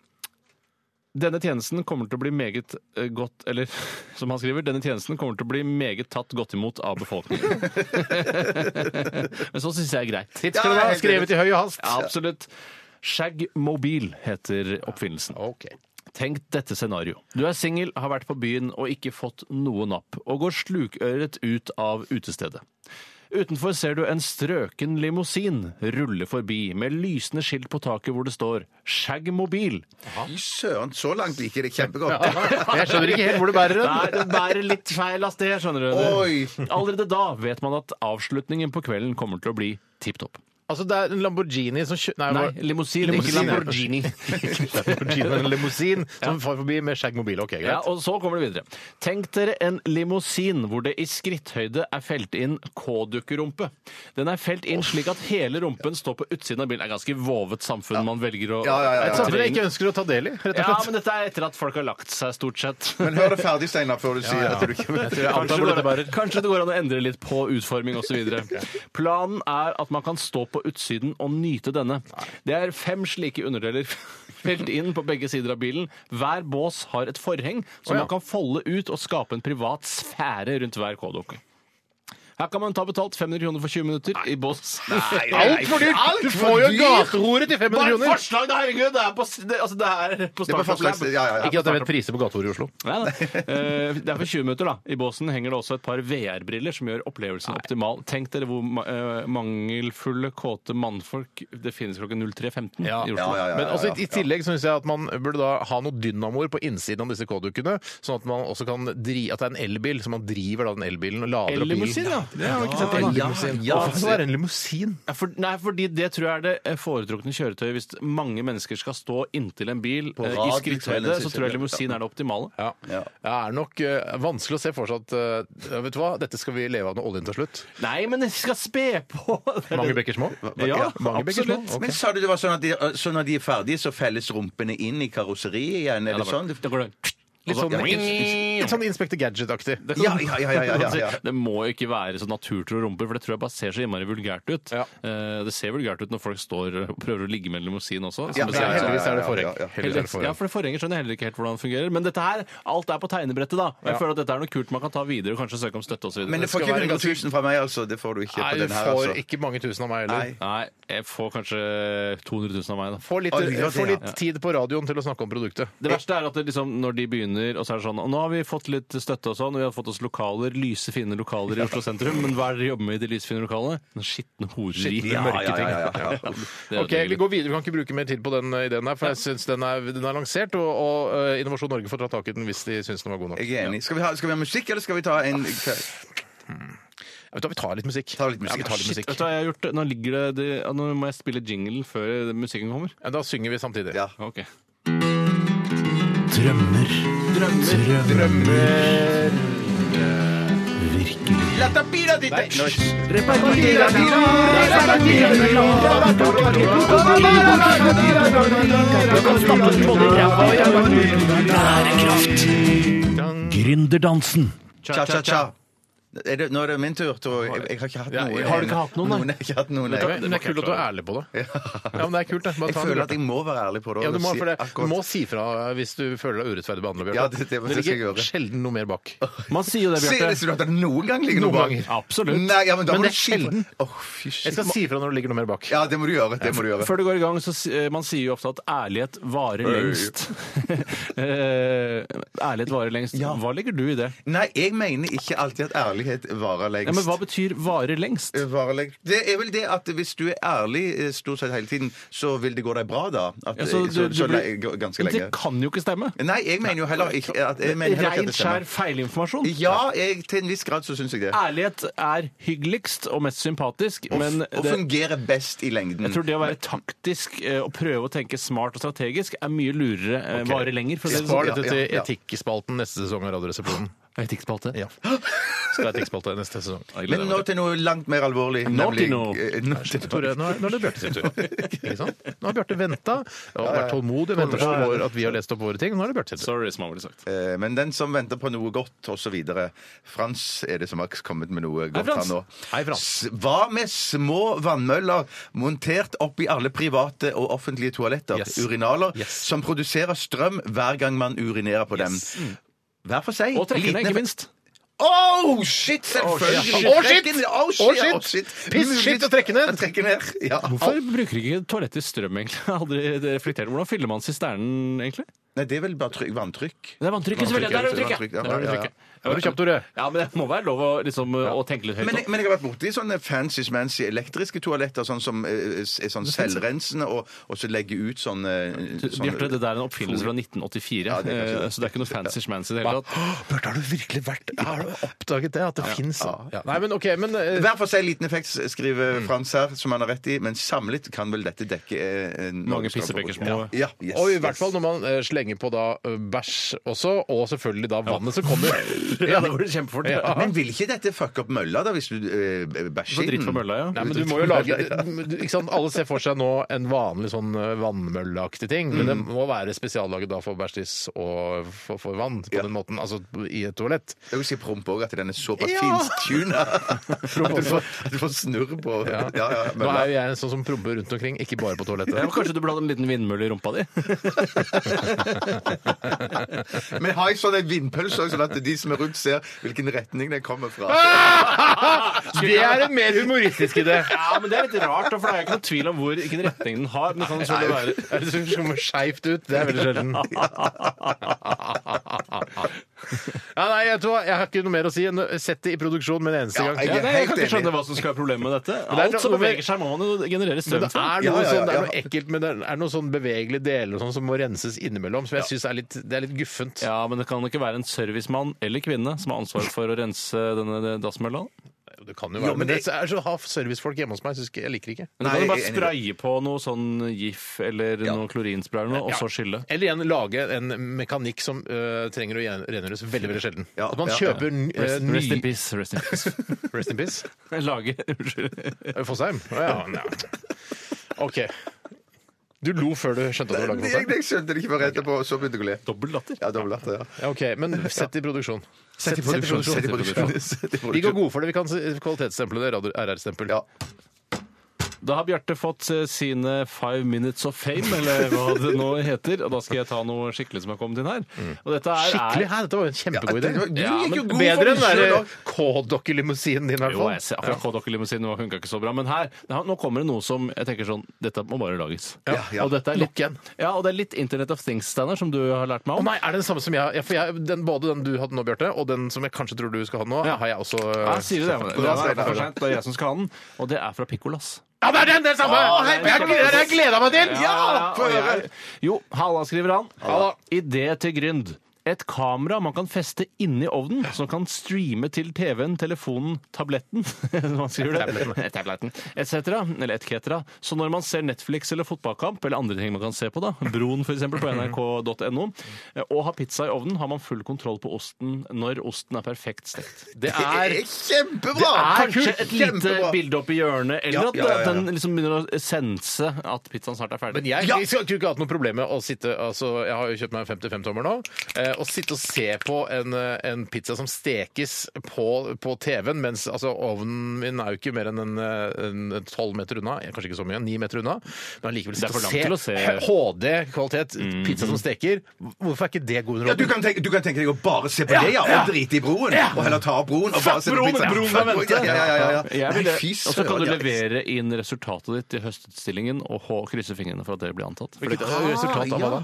denne tjenesten kommer til å bli meget eh, godt Eller som han skriver, denne tjenesten kommer til å bli meget tatt godt imot av befolkningen. Men så syns jeg er greit.
Hit skal det være. Skrevet i høy hast.
Absolutt. Shag Mobil heter oppfinnelsen.
OK.
Tenk dette scenario. Du er singel, har vært på byen og ikke fått noe napp, og går slukøret ut av utestedet. Utenfor ser du en strøken limousin rulle forbi med lysende skilt på taket hvor det står 'Skjegg mobil'.
Fy søren, så langt liker jeg det kjempegodt.
Jeg skjønner ikke helt hvor det bærer hen.
Nei, det bærer litt feil av sted, skjønner du.
Oi.
Allerede da vet man at avslutningen på kvelden kommer til å bli tipp topp.
Altså, det er en Lamborghini som kjø... Nei,
Nei,
hva-
limousin, ikke
Limousin, ja.
Lamborghini.
Ikke Lamborghini, men en limousin som far forbi med skjegg mobil. Ok,
Ja,
greit.
og så kommer det videre. Tenk dere en limousin hvor det i skritthøyde er felt inn K-dukkerumpe. Den er felt inn slik at hele rumpen står på utsiden av bilen. Det er ganske vovet samfunn man velger å
Ja, ja, ja, ja.
Et samfunn jeg ikke ønsker å ta del i, rett og
Ja,
slett.
men dette er etter at folk har lagt seg, stort sett.
Men hør det ferdig, Steinar, før du sier
ja.
at du ikke
Jeg tror jeg antar
Kanskje det,
hvor dette
går,
bærer.
kanskje det går an å endre litt på utforming osv. Planen er at man kan stå på utsiden og nyte denne. Det er fem slike underdeler felt inn på begge sider av bilen. Hver bås har et forheng som man kan folde ut og skape en privat sfære rundt hver K-dukke. Her kan man ta betalt 500 kroner for 20 minutter i bås.
Altfor dyrt! Du får jo gatehoret til 500
Bare
kroner!
forslag, da! Herregud! Det er på, s- det, altså, det er på
Det er på
Startup
forslag,
Lab.
ja, ja, ja.
Ikke at jeg vet priser på gatehoret i Oslo.
Nei, nei. Eh, Det er for 20 minutter, da. I båsen henger det også et par VR-briller som gjør opplevelsen optimal. Tenk dere hvor ma- eh, mangelfulle, kåte mannfolk det finnes klokken 03.15
Ja,
i Oslo.
ja, ja, ja, ja,
Men også,
ja.
i, i tillegg syns jeg at man burde da ha noen dynamoer på innsiden av disse K-dukkene, sånn at man også kan dri, at det er en elbil, så man driver da den elbilen og lader opp bilen.
Ellimousin, ja.
Det har jeg ikke sett
Ja,
ennå.
ellimousin. Ja,
Hvorfor skal det være en limousin?
Ja, For, nei, fordi det tror jeg er det eh, foretrukne kjøretøyet hvis mange mennesker skal stå inntil en bil eh, i
rad,
skritthøyde.
liksom,
Så tror jeg limousin er det optimale.
Ja.
Ja.
Det er nok eh, vanskelig å se for seg at eh, ja, Vet du hva, dette skal vi leve av når oljen tar slutt.
Nei, men jeg skal spe på!
Mange bekker små.
Ja,
mange bekker små.
absolutt.
Ok.
Men sa du det var sånn at de, så når de er ferdige, så felles rumpene inn i karosseriet igjen? Er det sånn?
Da går det
Litt sånn,
Ja, men-
litt sånn Inspector Gadget-aktig.
Det
Ja, ja, ja, ja, ja, ja, ja.
Altså, Det må jo ikke være så naturtro rumper, for det tror jeg bare ser så innmari vulgært ut.
Ja.
Eh, Det ser vulgært ut når folk står og prøver å ligge med en limousin også.
Ja,
som
Nei,
det ser ut som.
Heldigvis er det
Ja,
forheng.
ja, ja.
Heldigvis er det
ja,
forheng.
for det forhenger skjønner jeg heller ikke helt hvordan det fungerer. Men dette her, alt er på tegnebrettet, da. Og jeg føler at dette er noe kult man kan ta videre og kanskje søke om støtte osv.
Men det får
skal
ikke
være
100 000 fra meg, altså. Det får du ikke
Nei,
på
du
den her,
får
altså.
ikke mange tusen av meg
Nei.
heller.
Nei, jeg får kanskje 200 000 av meg, da.
Få litt,
Oi, det var det,
få litt
ja.
tid på radioen til å snakke om produktet.
Det verste er at det liksom, når de begynner, og så er det sånn Og nå har vi fått litt støtte og sånn, og vi har fått oss lokaler, lyse, fine lokaler i Oslo sentrum, men hva er det dere jobber med i de lyse, fine lokalene? Noen skitne horeri.
Skitne
Ja,
mørke
ja, ja,
ting.
ja, ja. Det
Ok, Vi går videre. Vi kan ikke bruke mer tid på den eh, ideen her, for jeg synes den er, den er lansert, og, og eh, Innovasjon Norge får ta tak i den hvis de syns den var god nok.
Jeg er enig. Skal vi, ha, skal vi ha musikk, eller skal vi ta en
Jeg vet, da, vi tar litt musikk.
Ta litt musikk.
Ja, vi tar litt
Shit,
musikk.
vet du hva jeg har gjort? Nå, ligger det, det, ja, nå må jeg spille jingle før musikken kommer.
Ja, da synger vi samtidig.
Ja.
Ok.
Drømmer.
Drømmer
Bærekraft. Gründerdansen.
Cha-cha-cha. Er det- Nå er det min tur, tror jeg. Jeg har ikke hatt
Ja,
noe.
har du ikke
hatt noen,
nei?
nei?
jeg har ikke hatt noen,
Men
nei.
det er kult at du er ærlig på det. Ja, men det er kult, det. Bare
Jeg
ta
føler
den.
at jeg må være ærlig på det.
ja, du må,
og si
for det. du
akkurat-
må si fra hvis du føler deg urettferdig behandla, Bjarte.
Ja, det- det- det skal jeg
ligger
gjøre.
sjelden noe mer bak.
Man sier jo det,
Sier
Bjarte.
du at det noen gang ligger
Noen
noe bak?
ganger.
Absolutt.
Nei, ja, men da
Men
må
det er
du si fra.
sjelden.
Åh, fy
Jeg
shit.
skal si fra når det ligger noe mer bak.
Ja, det må du gjøre. Det må du gjøre.
Før du går i gang, så si- eh, man sier jo ofte at ærlighet varer lengst. Eh, ærlighet varer lengst.
Ja.
Hva legger du i det?
Nei, jeg mener ikke alltid at ærlighet varer lengst. Eh,
Ja, men hva betyr varer lengst?
Varer lengst. Det er vel det at hvis du er ærlig eh, stort sett hele tiden, så vil det gå deg bra da. At, eh,
Ja,
så,
så
så,
du- du blir-
le- ganske
Men
lenge.
Det kan jo ikke stemme.
Nei, jeg mener jo heller ikke at, jeg mener heller ikke
Rein,
at det
skjær
stemmer.
feilinformasjon.
Ja, jeg, til en viss grad så syns jeg det.
Ærlighet er hyggeligst og mest sympatisk, men
Og
det,
fungerer best i lengden.
jeg tror det å være taktisk eh, og prøve å tenke smart og strategisk er mye lurere. eh, Varer lenger, for å si det
Spar
sånn.
Ja,
dette
ja,
til
ja.
Etikkspalten neste sesong av Radioresepsjonen.
Etikkspalte.
Ja. Skal ha etikkspalte neste sesong.
Men nå til noe langt mer alvorlig.
Nå til
nemlig-
noe.
eh, nå til noe.
Tore, nå er, nå er det Bjarte sin tur. Ikke sant? Nå har Bjarte venta og vært tålmodig og ventet på vår, at vi har lest opp våre ting. Nå er det Bjarte sin tur.
Sorry, som han ville sagt.
Eh, Men den som venter på noe godt, osv. Frans er det som har kommet med noe godt
Frans.
her nå.
Hei, Frans.
S- Hva med små vannmøller montert opp i alle private og offentlige toaletter,
Yes.
urinaler,
Yes.
som produserer strøm hver gang man urinerer på dem?
Mm.
Hver for seg.
Og trekkene,
Liten
ikke
effekt-
minst.
Oh, shit, selvfølgelig!
Å, shit.
Trekken- Oh, shit!
Å, shit.
Å, shit.
Piss,
Mulig-
shit, og trekke ned.
Trekke ned, ja.
Hvorfor bruker ikke toalettet strøm, egentlig? Jeg har Aldri reflektert. Hvordan fyller man sisternen, egentlig?
Nei, det er vel bare tryk, vanntrykk.
Det er vanntrykket, selvfølgelig. Der er det
Vanntrykk,
trykket!
ja.
Der er det trykket.
Ja, var du kjapp, Tore?
Ja, men det må være lov å, liksom, å tenke litt høyt.
Men,
også.
jeg- men jeg har vært borti sånne fancy-smancy elektriske toaletter sånn som eh, s- er sånn selvrensende, og, og så legge ut sånn eh,
Du,
sånn-
Bjarte, det der er en oppfinnelse fra 1984,
Ja, det er kanskje
eh,
det.
så det er ikke noe fancy schmancy i det hele tatt.
Bjarte, har du virkelig vært Har du oppdaget det? At det fins Nei, men OK, men eh,
Hver for seg liten effekt, skriver Frans her, som han har rett i, men samlet kan vel dette dekke eh, en-
Mange pissepekker små.
Ja, yes,
og i hvert
yes.
fall når man eh, slenger på da eh, bæsj også, og selvfølgelig da vannet som kommer.
Ja, det går det kjempefort.
Ja.
Men vil ikke dette fucke opp mølla, da, hvis du eh, bæsjer
Får
i
dritt for
den?
mølla, ja.
Nei, men du må jo lage ikke sant? Alle ser for seg nå en vanlig sånn eh, vannmølleaktig ting, men det må være spesiallaget da for bæsjtiss og for, for vann, på den måten, altså i et toalett.
Jeg vil si promp òg, at den er såpass
Ja.
finstuna. At du får, at du får snurr på ja. Ja,
Nå er
mølla.
jo jeg en sånn som promper rundt omkring, ikke bare på
Ja, men
toalettet.
kanskje du burde hatt en liten vindmølle i rumpa di?
Men har jeg sånn en vindpølse også, sånn at de som er rundt, ser hvilken retning den kommer fra?
Det er en mer humoristisk idé!
Ja, men det er litt rart, da, for det er jo ikke noen tvil om hvor, hvilken retning den har. Men sånn skal det være.
Er det som kommer skeivt ut? Det er veldig sjelden. Ja, nei, jeg, tror, jeg har ikke noe mer å si enn å sette det i produksjon med en eneste
Ja,
gang.
jeg
Ja,
er
nei, jeg
helt
kan ikke
enig.
skjønne hva som skal være problemet med dette.
det er
Alt som
noe-
beveger seg, må man jo generere
Men
strøm
det
fra.
er
Ja,
noe,
ja, ja,
sånn, det er noe
ja.
ekkelt, men det er noe sånn bevegelige deler og sånn som må renses innimellom, som jeg synes syns er litt, det er litt guffent.
Ja, men det kan ikke være en servicemann eller kvinne som har ansvaret for å rense denne dassmølla.
Det kan jo være, men det er så å ha servicefolk hjemme hos meg, synes ikke- jeg liker ikke.
Men du
Nei,
kan jo
jeg er
bare
enig i det.
spraye på noe sånn GIF eller noe klorinspray eller noe, og
Ja.
så skylle.
Eller igjen lage en mekanikk som øh, trenger å gjen- rengjøres veldig veldig sjelden.
Ja,
At man
ja, ja.
kjøper n- øh,
Rest,
ny
rest in peace. Rest in peace.
Rest in peace.
Lage Unnskyld.
Fosheim? Å ja, ja. OK. Du lo før du skjønte at du
Jeg,
laga
jeg,
Fosheim?
skjønte det ikke før etterpå, og så begynte jeg å le.
Dobbel latter.
Ja, dobbelt latter, ja.
Ja, OK, men sett det i produksjon.
Sett i produksjon. Sett i produksjon. Sett i
Vi går
produksjon.
gode for det. Vi kan s- kvalitetsstemple det. Radio RR-stempel.
Ja.
Da har Bjarte fått eh, sine five minutes of fame, eller hva det nå heter. Og da skal jeg ta noe skikkelig som har kommet inn her. Og dette er,
Skikkelig her! Dette var jo en kjempegod idé.
det var- du gikk jo
men
god for
Bedre
den
enn den
selv
der K-dokkelimousin din, i hvert
Jo,
fall.
jeg ser akkurat K-dokkelimousin nå funka ikke så bra, men her nå- nå kommer det noe som jeg tenker sånn Dette må bare lages.
Ja, ja.
Og dette er
Nok
litt,
en.
ja, og det er litt Internet of Things, Steinar, som du har lært meg
Å
om.
nei, er det den samme som jeg har? Ja, for jeg, den, både den du hadde nå, Bjarte, og den som jeg kanskje tror du skal ha nå,
Ja. Ah,
har jeg også eh,
Ja, jeg sier du det? men Det
Steinar.
er, for sent, det er jeg som skal ha den, og det er fra Piccolas.
Ja, det er den! Det er samme!
Å,
Jeg
det er-
gleder- jeg har gleda meg til!
Ja, og jeg- Jo, halla, skriver han. Idé til Grynd. Et kamera man kan feste inni ovnen, som kan streame til TV-en, telefonen, tabletten som han skriver det, tabletten, etc. Eller et cetera. Så når man ser Netflix eller fotballkamp, eller andre ting man kan se på, da, Broen f.eks. på nrk.no, og har pizza i ovnen, har man full kontroll på osten når osten er perfekt stekt.
Det
Det
er
er kjempebra!
Kanskje
Kult,
et lite
kjempebra.
bilde opp i hjørnet, eller
Ja,
at
ja, ja, ja.
den liksom begynner å sense at pizzaen snart er ferdig.
Men jeg, jeg skulle ikke hatt noe problem med å sitte altså, Jeg har jo kjøpt meg en 55-tommer nå. Eh, å sitte og se på en, eh, en pizza som stekes på, på TV-en, mens altså, ovnen min er jo ikke mer enn en, eh, en, en 12 meter unna. Ja, Kanskje ikke så mye, 9 meter unna. Men allikevel
Det er
sitte
for langt til
og
å se.
se Mm. HD-kvalitet, pizza som steker. Hvorfor er ikke det god
Ja, du,
underholdning?
kan tenke, du kan tenke deg å bare se på det, ja, og drite i broen. Og heller ta av broen og bare se på
broen,
pizza.
broen
Fuck
kan vente.
Ja, ja, ja, ja.
Jeg vil
Nei,
det.
fy
Og så kan du
søren, ja.
levere inn resultatet ditt til høstutstillingen og hå- krysse fingrene for at det blir antatt. For det-
Ah, Resultatet av hva da?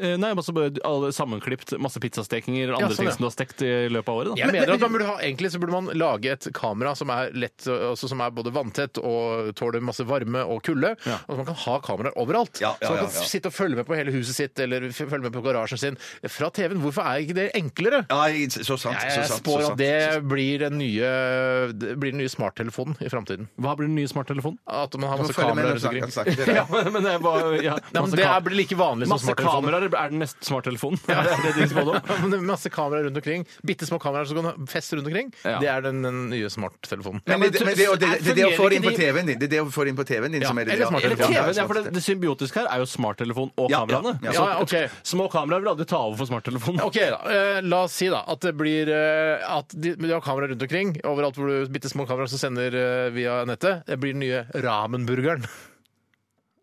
Eh, Nei, masse, alle sammenklipt, masse pizzastekinger og
Ja, sånn,
andre ting
ja.
som du har stekt i løpet av året. Da.
Jeg mener at man burde ha, egentlig så burde man lage et kamera som er lett, altså som er både vanntett og tåler masse varme og kulde. Og så man kan ha kameraer overalt.
Ja, ja,
så man
ja,
kan
ja.
sitte og følge med på hele huset sitt eller f- følge med på garasjen sin fra TV-en. Hvorfor er ikke det enklere?
Ja, jeg- så sant.
Jeg,
så sant, så
spår
sant,
at
så sant.
det blir den nye, det blir den nye smarttelefonen i framtiden.
Hva blir den nye smarttelefonen?
At man har
Du må
masse
følge med
kameraer
når
rundt omkring.
snakker- snakker dere.
men det, er bare- ja,
Nei, men
masse
det
kam-
er- blir like vanlig som
Masse
smarttelefoner.
kameraer er den neste smarttelefonen. Ja, det er det de spådde om.
Men det er Masse kameraer rundt omkring. Bitte små kameraer som kan feste rundt omkring.
Ja.
Det er den, den nye smarttelefonen.
Men det, men det, og det, det, det, å få det inn på TV-en din, det er det å få det inn på TV-en din
Ja,
som er det
eller
ja.
Eller
smarttelefon.
TV,
Ja,
ja, for det, det symbiotiske her er jo smarttelefon og
Ja, ja,
kameraene.
ja.
Ja,
Så
ja, ok.
Små kameraer vil aldri ta over for smarttelefonen.
Ok, da. Eh, La oss si da at det blir eh, at de, men de har kameraer rundt omkring. Overalt hvor du bitte små kameraer som sender eh, via nettet. Det blir den nye Ramenburgeren.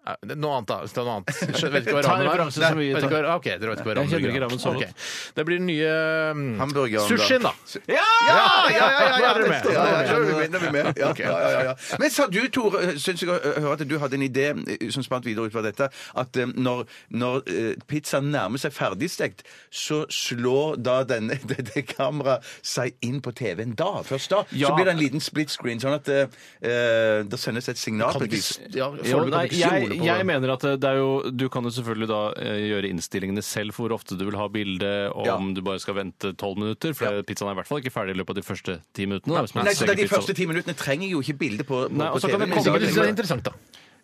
Eh, Noe annet, da. Ta noe annet. Skjønner- Vet ikke hva
Ta en
rammen er.
referanse
Nei,
som vi
vet
tar.
ikke hva- Ok, dere vet ikke hva
Jeg
rammen
kjenner ikke rammen så
Ok.
godt.
Det blir den nye mm,
Hamburgeren, da.
Sushien, da.
Ja! Ja, ja,
Da
ja! ja,
er dere med.
det står- ja, ja,
Da er dere
da er vi med, da er vi med. Ja,
Ok.
ja, ja, ja. Men sa du, Tore, syns jeg å høre at du hadde en idé eh, som spant videre ut fra dette, at eh, når, når eh, pizzaen nærmer seg ferdigstekt, så slår da denne, dette kameraet seg inn på TV-en da, først da.
Ja.
Så blir det en liten split screen, sånn at eh, eh, det sendes et signal
Kan
på
du
et
ikke,
vis.
s- ja,
Jo,
foreløpig kan du
nei,
ikke
jeg,
stole på
jeg mener at det er jo Du kan jo selvfølgelig da eh, gjøre innstillingene selv for hvor ofte du vil ha bilde, om
Ja.
du bare skal vente tolv minutter, for pizzaen er i hvert fall ikke ferdig i løpet av de første ti minuttene. da, hvis man
Nei, så det
steker
er De
pizza.
første ti minuttene trenger jo ikke bilde på, på,
Nei, og
på
så kan det
Hvis ikke
TV-en.
komme-
du synes det er interessant, da.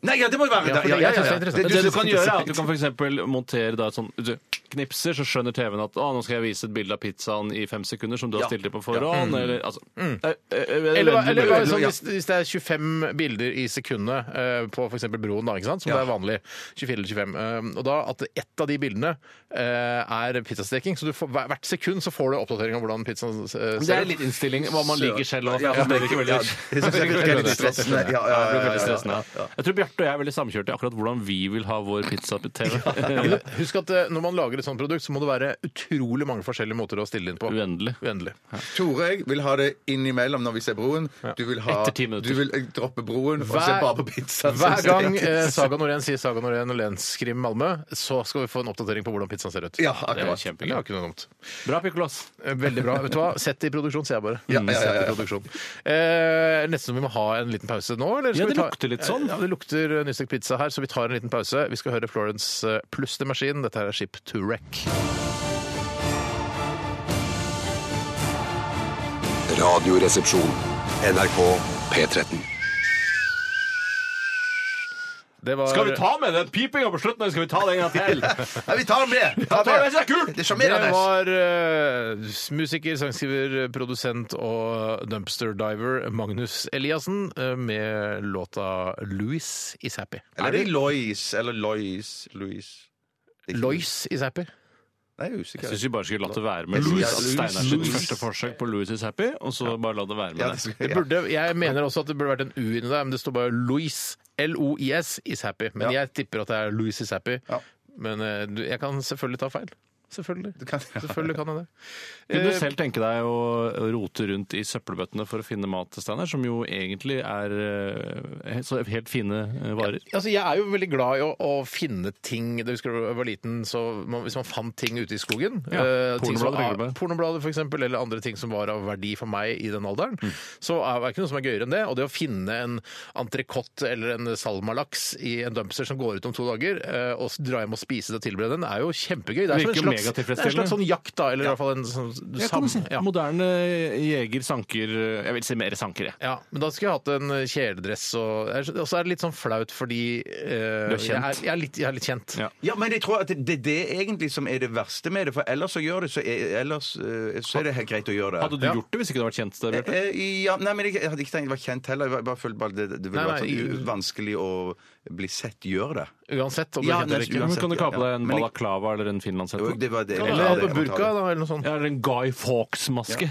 Nei, ja, det må jo være
Ja, for
det. Ja,
jeg
ja,
synes
ja,
det er
ja.
interessant.
Det, du kan gjøre er at du
interessant.
kan for eksempel montere da, et sånn du knipser, så skjønner TV-en at å, nå skal jeg vise et bilde av pizzaen i fem sekunder som du har stilt deg på forhånd. Eller, altså, eh, eh, eh,
Eller, hva-
veldig
eller,
mye.
hva- sånn, hvis, hvis det er 25 bilder i sekundet eh, på f.eks. broen, da, ikke sant? som det er vanlig, 24 eller 25, eh, og da at ett av de bildene eh, er pizzasteking, så du får, hver- hvert sekund så får du oppdatering om hvordan pizzaen eh, ser ut.
Det er litt innstilling hva man liker selv òg.
Ja,
Jeg forstår ikke veldig-
ja, det synes jeg virker litt stressende. Ja, ja, ja,
Jeg blir
ja,
veldig
ja, ja.
stressende. Jeg tror Bjarte og jeg er veldig samkjørte i akkurat hvordan vi vil ha vår pizza på TV.
Ja, men Husk at eh, når man lager et sånt produkt, så må det være utrolig mange forskjellige måter å stille inn på.
Uendelig.
Uendelig.
Tore jeg vil ha det innimellom når vi ser broen. Du vil, ha,
Etter ti minutter.
du vil eh, droppe broen og
Hver-
se bare på pizza.
Hver
synes jeg.
gang eh, Saga Norén sier Saga Norén og Lenskrim Malmö, så skal vi få en oppdatering på hvordan pizzaen ser ut.
Ja,
Det var
akkurat.
Det er
kjempegøy.
ikke noe dumt.
Bra, Pikolos.
Eh, Veldig bra. Vet du hva? Sett det i produksjon, sier jeg bare.
Ja, ja, ja, ja.
Sett det i produksjon. Eh, nesten som vi må ha en liten pause nå. Eller
Ja,
vi
det lukter litt sånn.
Ja, det lukter eh, nystekt pizza her, så vi tar en liten pause. Vi skal høre Florence eh, pluss The Machine. Dette her er Ship to Wreck.
Radioresepsjon.
NRK P13.
Det var
med den pipinga på slutten? Skal vi ta den en gang til?
Nei, vi tar med!
Ja, ta med, det er kult!
Det er
Det
sjarmerende.
var eh, musiker, sangskriver, produsent og dumpster diver Magnus Eliassen eh, med låta 'Louis Is Happy'.
Eller er det Lois eller Lois Louis? Det er ikke-
Lois Is Happy?
Nei, jeg er
Jeg
usikker.
syns vi bare skulle latt det være med
Louis-
Louis Steiners
Louis-
første forsøk på Louis is happy, og så bare la det være
Ja,
med
det
det.
skal-
Det
ja.
burde, jeg mener også at det burde vært en U inni der, men det står bare Louis. L-O-I-S is happy. Men
Ja.
jeg tipper at det er Louis is happy.
Ja.
Men eh, du- jeg kan selvfølgelig ta feil. Selvfølgelig.
kan-
Selvfølgelig kan jeg det.
Kunne du
Eh,
selv tenke deg å rote rundt i søppelbøttene for å finne mat til Steinar, som jo egentlig er eh, så helt fine eh, varer?
Altså, jeg er jo veldig glad i å, å finne ting. Da jeg husker jeg var liten, så man, Hvis man fant ting ute i skogen
Ja,
eh, ting som-
pornoblader, tenker du på?
Pornoblader for eksempel, eller andre ting som var av verdi for meg i den alderen,
Mm.
så er det ikke noe som er gøyere enn det. Og det å finne en entrecôte eller en salmalaks i en dumpster som går ut om to dager, eh, og s- dra hjem og spise det og tilberede den, er jo kjempegøy. Det er, som en slags,
Virker
det er en
megatilfredsstillende.
slags sånn jakt, da. Eller i hvert fall en sånn du
Ja, kan
sam-
man si.
ja.
Moderne eh, jeger, sanker eh, Jeg vil si mer sanker, jeg.
Ja, men da skulle jeg hatt en eh, kjeledress og Og så er det litt sånn flaut fordi eh,
Du er kjent.
Jeg, er, jeg, er litt, jeg er litt kjent.
Ja.
Ja, men jeg tror at det det er det egentlig som er det verste med det, for ellers så gjør det så er, ellers, eh, så er det helt greit å gjøre det.
Hadde du gjort det hvis ikke du hadde vært kjent? det, Bjarte?
Eh, ja, nei, men jeg, jeg hadde ikke tenkt det var kjent heller. Jeg bare følte bare det, det ville
Nei,
vært
nei,
sånn u- vanskelig å bli sett gjøre det.
Uansett om du
Ja,
kjente det
nesten
eller ikke.
Men kan du kape deg en
Men jeg-
balaklava eller en finlandshette?
Og det var det.
Eller
Ja,
ha
det-
på burka da, eller noe sånt.
Eller en Guy Fawkes-maske?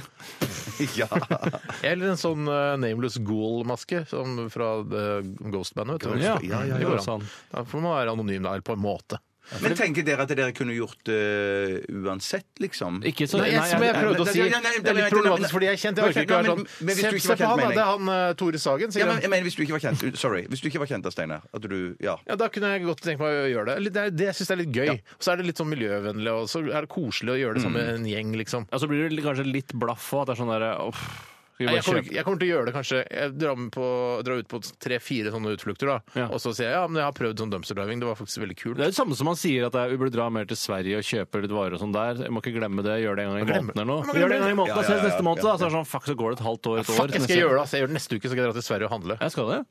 Ja.
Eller en sånn eh, Nameless Ghoul-maske som fra eh, Ghost-bandet. vet du.
Ja,
ja, ja,
det går an.
Da får man være anonym der, på en måte.
Men tenker dere at dere kunne gjort det uansett, liksom?
Ikke så,
Nei, jeg, som jeg prøvde å si,
nei, nei, nei,
det er
nei, nei,
litt
nei,
problematisk
nei,
fordi jeg er kjent.
nei,
Jeg orker ikke å være
men-
sånn
men hvis
Se
du ikke
se
var
på
kjent,
han, da.
mener jeg.
Det er han eh, Tore Sagen,
Ja,
sier
men
han.
jeg mener, Hvis du ikke var kjent Sorry. Hvis du ikke var kjent da, Steinar At du Ja.
Ja, Da kunne jeg godt tenke meg å gjøre det. Eller Det, er- det syns jeg er litt gøy. Og så er det litt sånn miljøvennlig, og så er det koselig å gjøre det sammen med en gjeng, liksom.
Ja, så blir det kanskje litt blaff òg, at det er sånn derre uff, skal vi
Nei,
bare
Jeg kommer,
kjøpe-
ikke- jeg kommer til å gjøre det kanskje Jeg drar, med på, drar ut på tre-fire sånne utflukter, da.
Ja.
Og så sier jeg ja, men jeg har prøvd sånn dumpster diving. Det var faktisk veldig kult.
Det er det samme som man sier at det er, vi burde dra mer til Sverige og kjøpe litt varer og sånn der. Jeg må ikke glemme det. Gjør det en gang i
glemmer-
måneden eller
Man
noe. Gjør det en gang i
Ja,
måneden, da,
ja,
ses
ja,
neste
ja,
måned.
ja.
Da. Så er det sånn, fuck, så går det et halvt år, et år.
Fuck, jeg
neste-
skal gjøre det. altså. Jeg gjør det neste uke, så skal jeg dra til Sverige og handle.
Jeg skal det.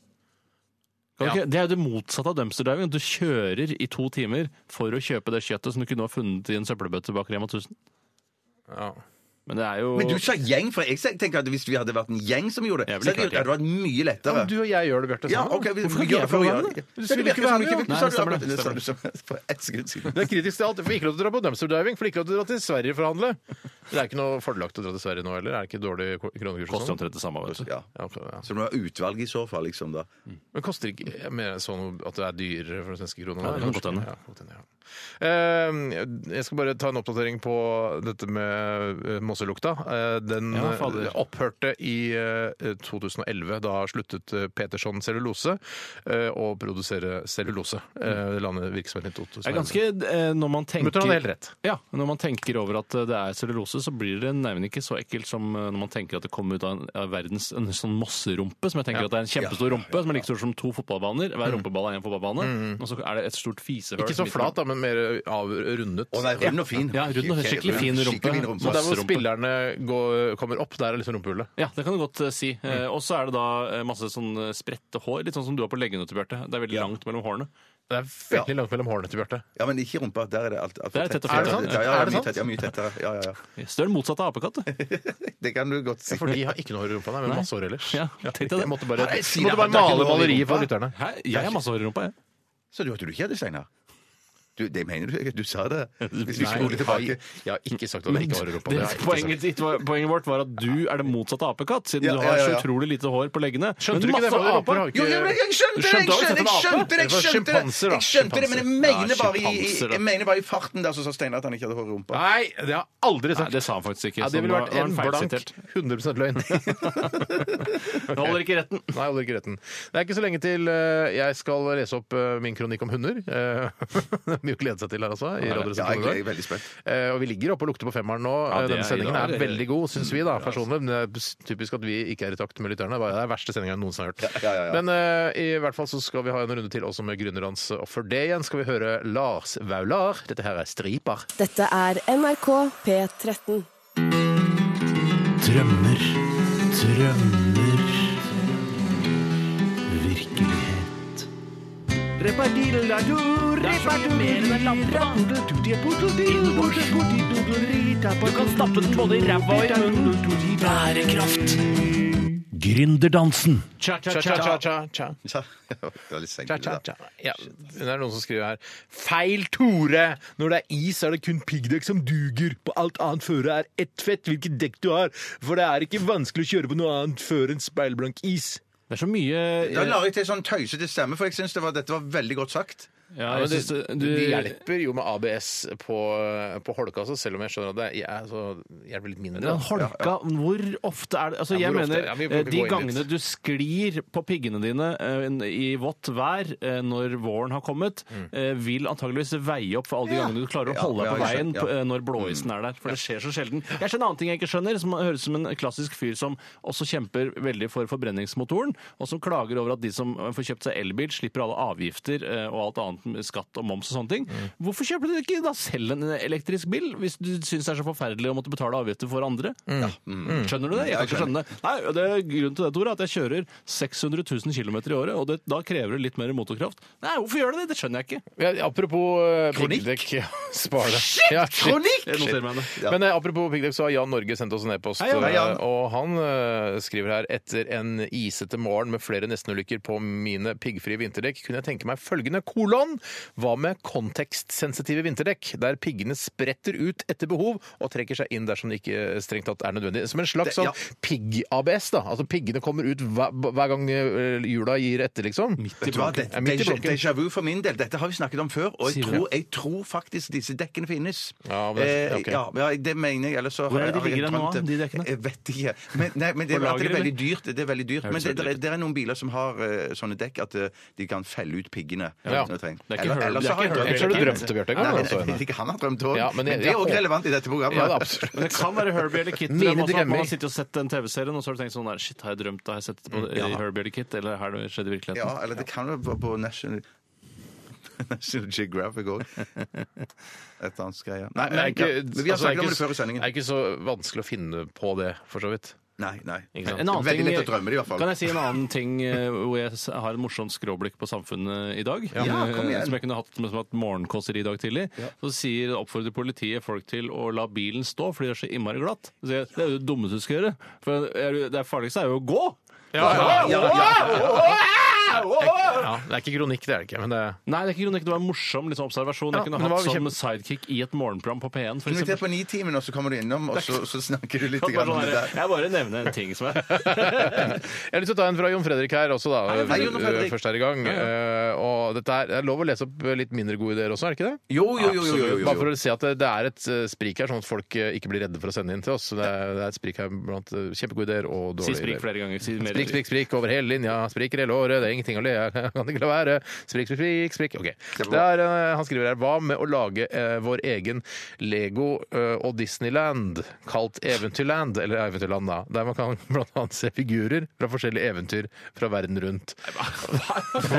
Kan du
Ja.
ikke- Det er jo det motsatte av dumpster diving. at Du kjører i to timer for å kjøpe det kjøttet som du kunne ha funnet i en søppelbøtte bak Rema 1000.
Ja.
Men det er jo
Men du sa gjeng, for jeg tenker at hvis vi hadde vært en gjeng som gjorde det,
Jeg ville
så
ikke
hadde
vært
det vært mye
Ja,
lettere.
men du og jeg gjør det, Bjarte. sånn.
Ja,
sammen.
ok, vi,
Hvorfor
vi
kan ikke
gjør
jeg få
det for å
være med?
gjøre det.
Du
Det
skulle
virker
ikke
som
være
vi
med.
ikke-
Nei,
sa
det
du
stemmer,
akkurat
det
det, sa
stemmer.
du som- For ett sekund siden.
Det er kritisk til alt. Vi får ikke lov til å dra på dumpsterdiving, får ikke lov til å dra til Sverige for å handle. Det er ikke noe fordelaktig å dra til Sverige nå heller? Er det ikke dårlig ko- kronekurs? og
Koster
sånn?
omtrent det samme. Vet du.
Ja.
Ja, ok, ja.
Så det må være utvalg i så fall, liksom, da.
Men koster ikke jeg mener sånn at det er dyrere for svenske kroner?
Ja, det kan godt hende.
Ja, godt hende, ja. Eh, Jeg skal bare ta en oppdatering på dette med eh, Måselukta. Eh, Den
Ja, fader.
eh, opphørte i eh, 2011. Da sluttet eh, Peterson Cellulose eh, å produsere cellulose. Eh, Landet virksomheten i 2011.
Det er ganske, eh, når man tenker,
Mutter hadde helt rett.
Ja, når man tenker over at eh, det er cellulose, så blir det nærmest ikke så ekkelt som eh, når man tenker at det kommer ut av, en, av verdens en sånn mosserumpe, som jeg tenker at det er en kjempestor rumpe, som er like stor som to fotballbaner. Hver rumpeball er en fotballbane. Og så er det et stort fisehull.
Mm. Ikke så flat, da, men mer eh, avrundet.
Å nei, rund og fin.
Ja, rund og skikkelig fin rumpe.
Skikkelig fin rumpe.
Så der hvor
Masserumpe.
spillerne går, kommer opp, der er liksom rumpehullet.
Ja, det kan du godt eh, si. Eh,
Mm.
Og så er det da eh, masse sånn eh, spredte hår, litt sånn som du har på leggene til Bjarte. Det er veldig langt mellom hårene.
Det er veldig langt mellom hårene til Bjarte.
Ja, men ikke i rumpa. Der er det alt altfor
Der er det tett og
Ja,
fint, sant?
Ja, ja,
Er det
mye
sant?
tett- ja, mye tettere. Ja, ja, ja.
Så det er det motsatte av apekatt. det.
Det kan du godt si.
For de har ikke noe hår i rumpa, nei, men
Nei.
masse hår ellers.
Ja, tenkte jeg det.
Jeg måtte bare,
Nei, si
måtte
det,
bare
det er ikke
male
noe hår i
maleriet for
rumpa.
lytterne.
Hæ? Jeg har masse hår i rumpa, jeg.
Så du hørte du ikke det, Steinar? Du, det mener du ikke? Du sa det. Hvis vi
Nei,
spoler
jeg har,
tilbake.
jeg har ikke sagt at jeg ikke har hår i rumpa.
Det,
har jeg ikke sagt.
poenget, ditt var, poenget vårt var at du er det motsatte av apekatt, siden
Ja,
du
ja,
har
ja,
så
ja.
utrolig lite hår på leggene.
Skjønte du ikke det?
masse hår i rumpa.
Aper har ikke
Jo, jo, men jeg skjønte
Du
det! Jeg
skjønte
skjønte det! Jeg skjønte det, jeg skjønte det,
Sjimpanser, da.
jeg skjønte det, Men jeg mener
Ja,
bare i,
sjimpanser, da.
jeg mener bare i farten der så sa Steinar at han ikke hadde hår i rumpa.
Nei, det har jeg aldri
Nei,
sagt.
det sa han faktisk ikke.
Ja, det
så
ville
nå-
vært
nå er
en
han
blank
feilsitert.
100 løgn.
Det holder ikke retten.
Nei, holder ikke retten. Det er ikke så lenge til eh, jeg skal lese opp eh, min kronikk om hunder. Eh, Det er mye å glede seg til her, altså. I
Ja,
Ja,
Radioresepsjonen
jeg
i dag.
jeg er veldig spent.
Eh, og vi ligger oppe og lukter på femmeren nå.
Ja,
Eh,
det
Denne
er-
sendingen
ja,
er
det er-
veldig god, syns vi, da, personlig. Men det er s- typisk at vi ikke er i takt med lytterne. Det er den verste sendingen jeg noensinne har hørt.
ja, ja, ja.
Men eh, i hvert fall så skal vi ha en runde til også med gründerens. Og for det igjen skal vi høre Lars Vaular. Dette her er Striper.
Dette er NRK P13.
Drømmer, drømmer Virkelighet Du kan stappe den både i ræva og i munnen. Bærekraft. Gründerdansen.
Cha-cha-cha.
Ja, det var litt seint.
Cha-cha-cha. Ja, det er noen som skriver her Feil, Tore! Når det er is, er det kun piggdekk som duger. På alt annet føre er ett fett hvilket dekk du har, for det er ikke vanskelig å kjøre på noe annet før en speilblank is.
Det er så mye
Da la jeg til sånn tøysete stemme, for jeg syns det var- dette var veldig godt sagt.
ja,
Ja,
jeg
men
synes,
det,
du,
det hjelper jo med ABS på, på holka, altså, selv om jeg skjønner at det er, så hjelper litt mindre.
Den
da.
holka, hvor ofte er det Altså,
Ja,
jeg
hvor ofte?
mener
Ja, vi må
eh,
ikke
de
gå inn
gangene
dit.
du sklir på piggene dine eh, i vått vær eh, når våren har kommet,
Mm.
eh, vil antageligvis veie opp for alle de gangene du klarer å
Ja,
holde deg
ja,
på
jeg
veien
skjønner,
på,
ja.
eh, når blåisen er der. For det skjer så sjelden. Jeg skjønner en annen ting jeg ikke skjønner, som høres ut som en klassisk fyr som også kjemper veldig for forbrenningsmotoren, og som klager over at de som eh, får kjøpt seg elbil, slipper alle avgifter eh, og alt annet, skatt og moms og sånne ting.
Mm.
Hvorfor kjøper du ikke da selv en elektrisk bil, hvis du syns det er så forferdelig å måtte betale avgifter for andre? Ja. Mm. Skjønner du det? Jeg kan ikke skjønne det. Nei, og det er grunnen til det, Tore, at jeg kjører 600 000 km i året, og det, da krever det litt mer motorkraft. Nei, hvorfor gjør det det? Det skjønner jeg ikke.
Ja, apropos eh,
Kronikk?
piggdekk ja, Spar det. Ja, shit.
Jeg noterer meg det.
Ja.
Men eh, apropos piggdekk, så har Jan Norge sendt oss en e-post.
Hei, Jan.
eh,
Hei, Jan.
Og han eh, skriver her etter en isete morgen med flere nestenulykker på mine piggfrie vinterdekk, kunne jeg tenke meg følgende kolon. Hva med kontekstsensitive vinterdekk, der piggene spretter ut etter behov og trekker seg inn dersom det ikke eh, strengt tatt er nødvendig? Som en slags
Det- ja.
sånn pigg-ABS, da. Altså piggene kommer ut hver, hver gang eh, hjula gir etter, liksom. Midt
Vet du hva, det-
Ja, midt i
déjà-
blokken.
Déjà vu for min del. Dette har vi snakket om før, og jeg
Sier du?
tror, jeg tror faktisk disse dekkene finnes.
Ja, men det-
Eh,
ok.
ja, ja, det mener jeg. Ellers så
Hvor er det de
har jeg
ligger
drømt
nå,
det.
de dekkene?
Jeg vet ikke. Men, nei, men det,
På
er- at det er
lager,
veldig dyrt. Det er veldig dyrt.
høres
Men det,
veldig
det, er,
dyrt
det er noen biler som har eh, sånne dekk at eh, de kan felle ut piggene.
Ja.
Når de trenger.
Det er ikke
Eller-
hørt-
ellers
det er
så har
ikke
jeg
hørt-
Ellers har du drømt det, Bjarte.
Nei,
Kan du
jeg
også,
vet ikke, han har drømt òg.
Ja, men
men,
jeg-
det er
jeg
òg
håper-
relevant i dette programmet.
Ja, det er absolutt.
Men det kan være Herbie eller Kit.
Mine
Det er også at
drømmer.
Man har sittet og sett den TV-serien, og så har du tenkt sånn der, shit, har jeg drømt det? Har jeg sett det på i Herbie eller Kit? Eller har det skjedd i
Mm,
virkeligheten?
Ja, eller det kan jo være på National National Geographic òg. Et annet greie.
Det er ikke,
Nei, men, ja, men vi har
altså, det er
snakket om
ikke-
det før i
Det
sendingen.
er ikke så vanskelig å finne på det, for så vidt.
Nei, nei.
Ikke sant?
En
En annen
Veldig
ting-
lett å drømme det, i hvert fall.
Kan jeg si en annen ting eh, hvor jeg s- har en morsomt skråblikk på samfunnet i dag?
Ja,
eh,
kom igjen.
Som jeg kunne hatt som et morgenkåseri i dag tidlig. Så sier, oppfordrer politiet folk til å la bilen stå fordi det er så innmari glatt. Så jeg, det er jo det dummeste du skal gjøre. For er du- det farligste er jo å gå.
ja, ja,
ja.
Ja, det er ikke kronikk, det er det ikke. Men det er
Nei, det er ikke kronikk. Det var en morsom liksom, observasjon.
Ja,
jeg kunne
men det
hatt
var
som
kjempe-
sidekick i et morgenprogram på P1. For
Inviter
eksempel.
på Nitimen, og så kommer du innom, og så, så snakker du litt
Bare
grann om
sånn
det
her,
der.
jeg bare nevner en ting som er
Jeg har lyst til å ta en fra Jon Fredrik her også, da.
Hei, Jon
øh,
Fredrik.
Først her i gang.
Ja,
Eh, Og dette er, det er lov å lese opp eh, litt mindre gode ideer også, er det ikke det?
Jo, jo, jo. jo, jo, jo,
Bare for
jo.
å si at det, det er et eh, sprik her, sånn at folk eh, ikke blir redde for å sende inn til oss. Det er, det er et sprik her blant eh, kjempegode ideer og
Si
dårlige
sprik
ideer.
flere ganger. Si mer.
Sprik, sprik, sprik over hele linja. Spriker hele året. Det er ingenting å le av. Kan ikke la være. Sprik, sprik, sprik. sprik. Ok. Det er, eh, han skriver her Hva med å lage eh, vår egen Lego eh, og Disneyland, kalt Eventyrland, eller Eventyrland, da, der man kan blant annet se figurer fra forskjellige eventyr fra verden rundt.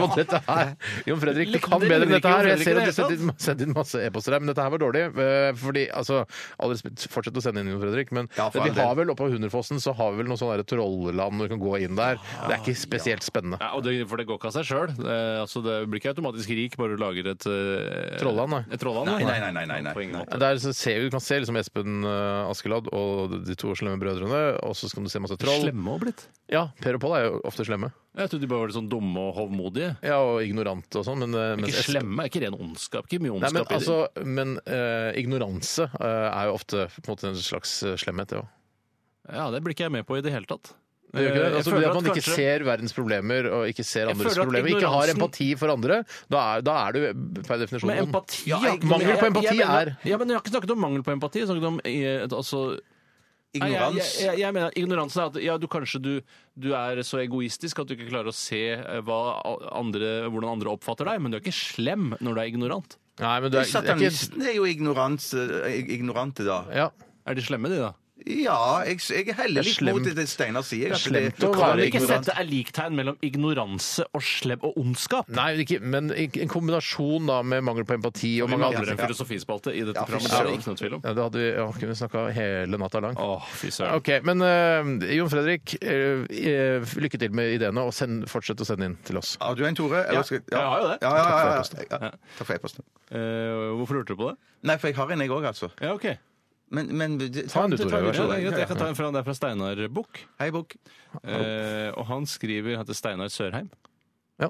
Og dette her Jon Fredrik, du kan
Det
bedre enn
ligner ikke
dette her.
Jon
Jeg ser
Fredrik i
at du sendte
det hele
inn, sendte inn masse e-poster her, men dette her var dårlig. eh, Fordi, altså, all respekt, fortsett å sende inn, Jon Fredrik, men
Ja, for
vi
all del.
har vel oppe på Hunderfossen så har vi vel noe sånn der trollland hvor du kan gå inn der. Det er ikke spesielt spennende.
Ah, Ja, og det, for det går ikke av seg sjøl. Eh, altså, det blir ikke automatisk rik bare du lager et eh,
Trollland, nei.
Et trollland
Nei, nei, nei, nei, nei, nei.
På ingen måte.
Der så ser vi, Du kan se liksom Espen eh, Askeladd og de to slemme brødrene, og så skal du se masse troll.
Slemme og blitt.
Ja, Per og Pål er jo ofte slemme.
Jeg trodde de bare var litt sånn dumme og hovmodige.
Ja, Og ignorante og sånn. Men, eh, mens
Ikke
Espen-
slemme, ikke ren ondskap. Ikke mye
Nei, men,
ondskap i det.
altså, men eh, ignoranse eh, er jo ofte på en, måte, en slags eh, slemhet, det òg.
Ja, det blir ikke jeg med på i det hele tatt.
Det gjør ikke det.
Eh, Jeg
Altså,
føler
det at
at
man ikke
kanskje-
ser verdens problemer og ikke ser andres
føler at
problemer, ikke har
ignoransen-
empati for andre, da er, da er du per definisjon
Men
ond.
empati
Ja,
jeg-
Mangel på
jeg-
empati
jeg mener-
er
Ja, men jeg har ikke snakket om mangel på empati. Jeg har snakket om eh, altså, Nei,
Ignorans.
Jeg, jeg, jeg, jeg mener ignoransen er at ja, du kanskje du, du er så egoistisk at du ikke klarer å se eh, hva a- andre, hvordan andre oppfatter deg, men du er ikke slem når du er ignorant.
Nei, men du er, det er ikke
Satanisten er jo ignorans, eh, ignorante, da.
ja.
Er de slemme, de, da?
Ja, jeg, jeg heller
Det er
litt mot
slemt.
det Steinar sier. at
Det er slemt
det-
å
Kan
være
vi ikke
ignorant.
sette er liktegn mellom ignoranse og slem og ondskap?
Nei, ikke, men i- en kombinasjon da med mangel på empati og
Vi
mange
mangler
andre
en filosofispalte i dette
Ja, fy
programmet. Det er det ikke noe tvil om.
ja, Det hadde vi ja, kunne snakka hele natta lang.
Åh, fy søren.
Ok, Men eh, Jon Fredrik, eh, eh, lykke til med ideene, og send, fortsett å sende inn til oss.
Har du en, Tore? Eller skal-
jeg har jo det.
Ja, ja, ja, ja, ja. ja. Takk for e-posten.
Eh, hvorfor lurte du på det?
Nei, for jeg har en, jeg òg, altså.
Ja, ok.
Men, men det-
Ta en du, Tore,
en
vær
Ja,
så
det er greit. Jeg kan ta en fra, det er fra Steinar Buch.
Hei, Bukk.
Eh, og han skriver Han heter Steinar Sørheim.
Ja.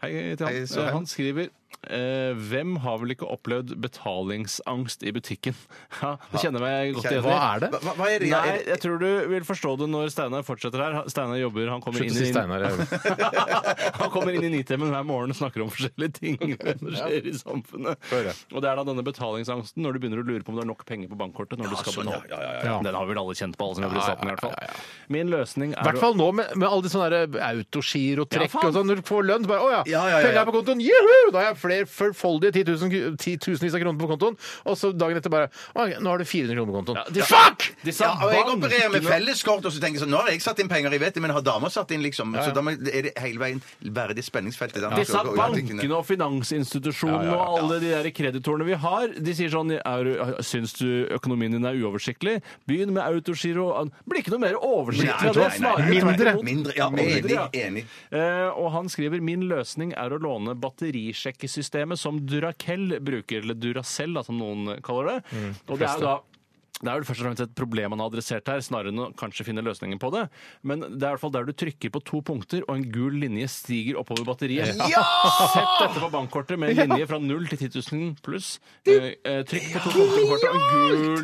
Hei til han.
Hei, Sørheim.
Eh, han skriver eh, Hvem har vel ikke opplevd betalingsangst i butikken? Ja, det kjenner meg godt igjen i.
Hva er det?
Hva, hva er det? Ja,
Nei,
er det?
jeg tror du vil forstå det når Steinar fortsetter her. Steinar jobber, han kommer
Slutt å
inn
si
i
Steinar. jeg-
han kommer inn i Nitimen hver morgen og snakker om forskjellige ting som skjer i samfunnet.
Hør, ja.
Og det er da denne betalingsangsten når du begynner å lure på om det er nok penger på bankkortet når du skal
sånn, ja,
betale.
ja,
ja.
ja,
Den har vel alle kjent på, alle som jobber i staten i hvert
Ja, ja, ja,
fall. Min løsning
I
er
hvert fall nå med, med alle de sånne der eh,
Ja,
autogirotrekk
faen.
og sånn. Når du får lønn, så bare 'Å ja,
Ja, ja, ja,
penger
ja.
er på kontoen! Juhu! Da har jeg flere flerfoldige 10 000 ku- 10 tusenvis av kroner på kontoen. Og så dagen etter bare 'Å, nå har du 400 kroner på kontoen'.
Ja, de-
Fuck!
Disse
Ja, og jeg
bankene-
opererer med felleskort, og så tenker jeg sånn Nå har jeg satt inn penger, jeg vet det, men har dama satt inn, liksom? Så da må- er det hele veien være det spenningsfeltet. der.
Disse
Og- og- og-
bankene og finansinstitusjonene og alle de der kreditorene vi har, de sier sånn er, du- Syns du økonomien din er uoversiktlig? Begynn med autogiro. Blir ikke noe mer oversiktlig
Nei,
av det.
nei, nei,
snarere
nei,
tvert
nei.
imot.
Mindre, ja,
Mindre, ja.
enig, enig.
Eh, og han skriver min løsning er å låne batterisjekkesystemet som Duracell bruker, eller Duracell da, som noen kaller det. og det er jo da det er vel først og fremst et problem han har adressert her, snarere enn å kanskje finne løsningen på det. Men det er i hvert fall der du trykker på to punkter, og en gul linje stiger oppover batteriet. Sett dette på bankkortet med en linje fra 0 til 10 000 pluss. Eh, eh, Trykk på to punkter på kortet, og en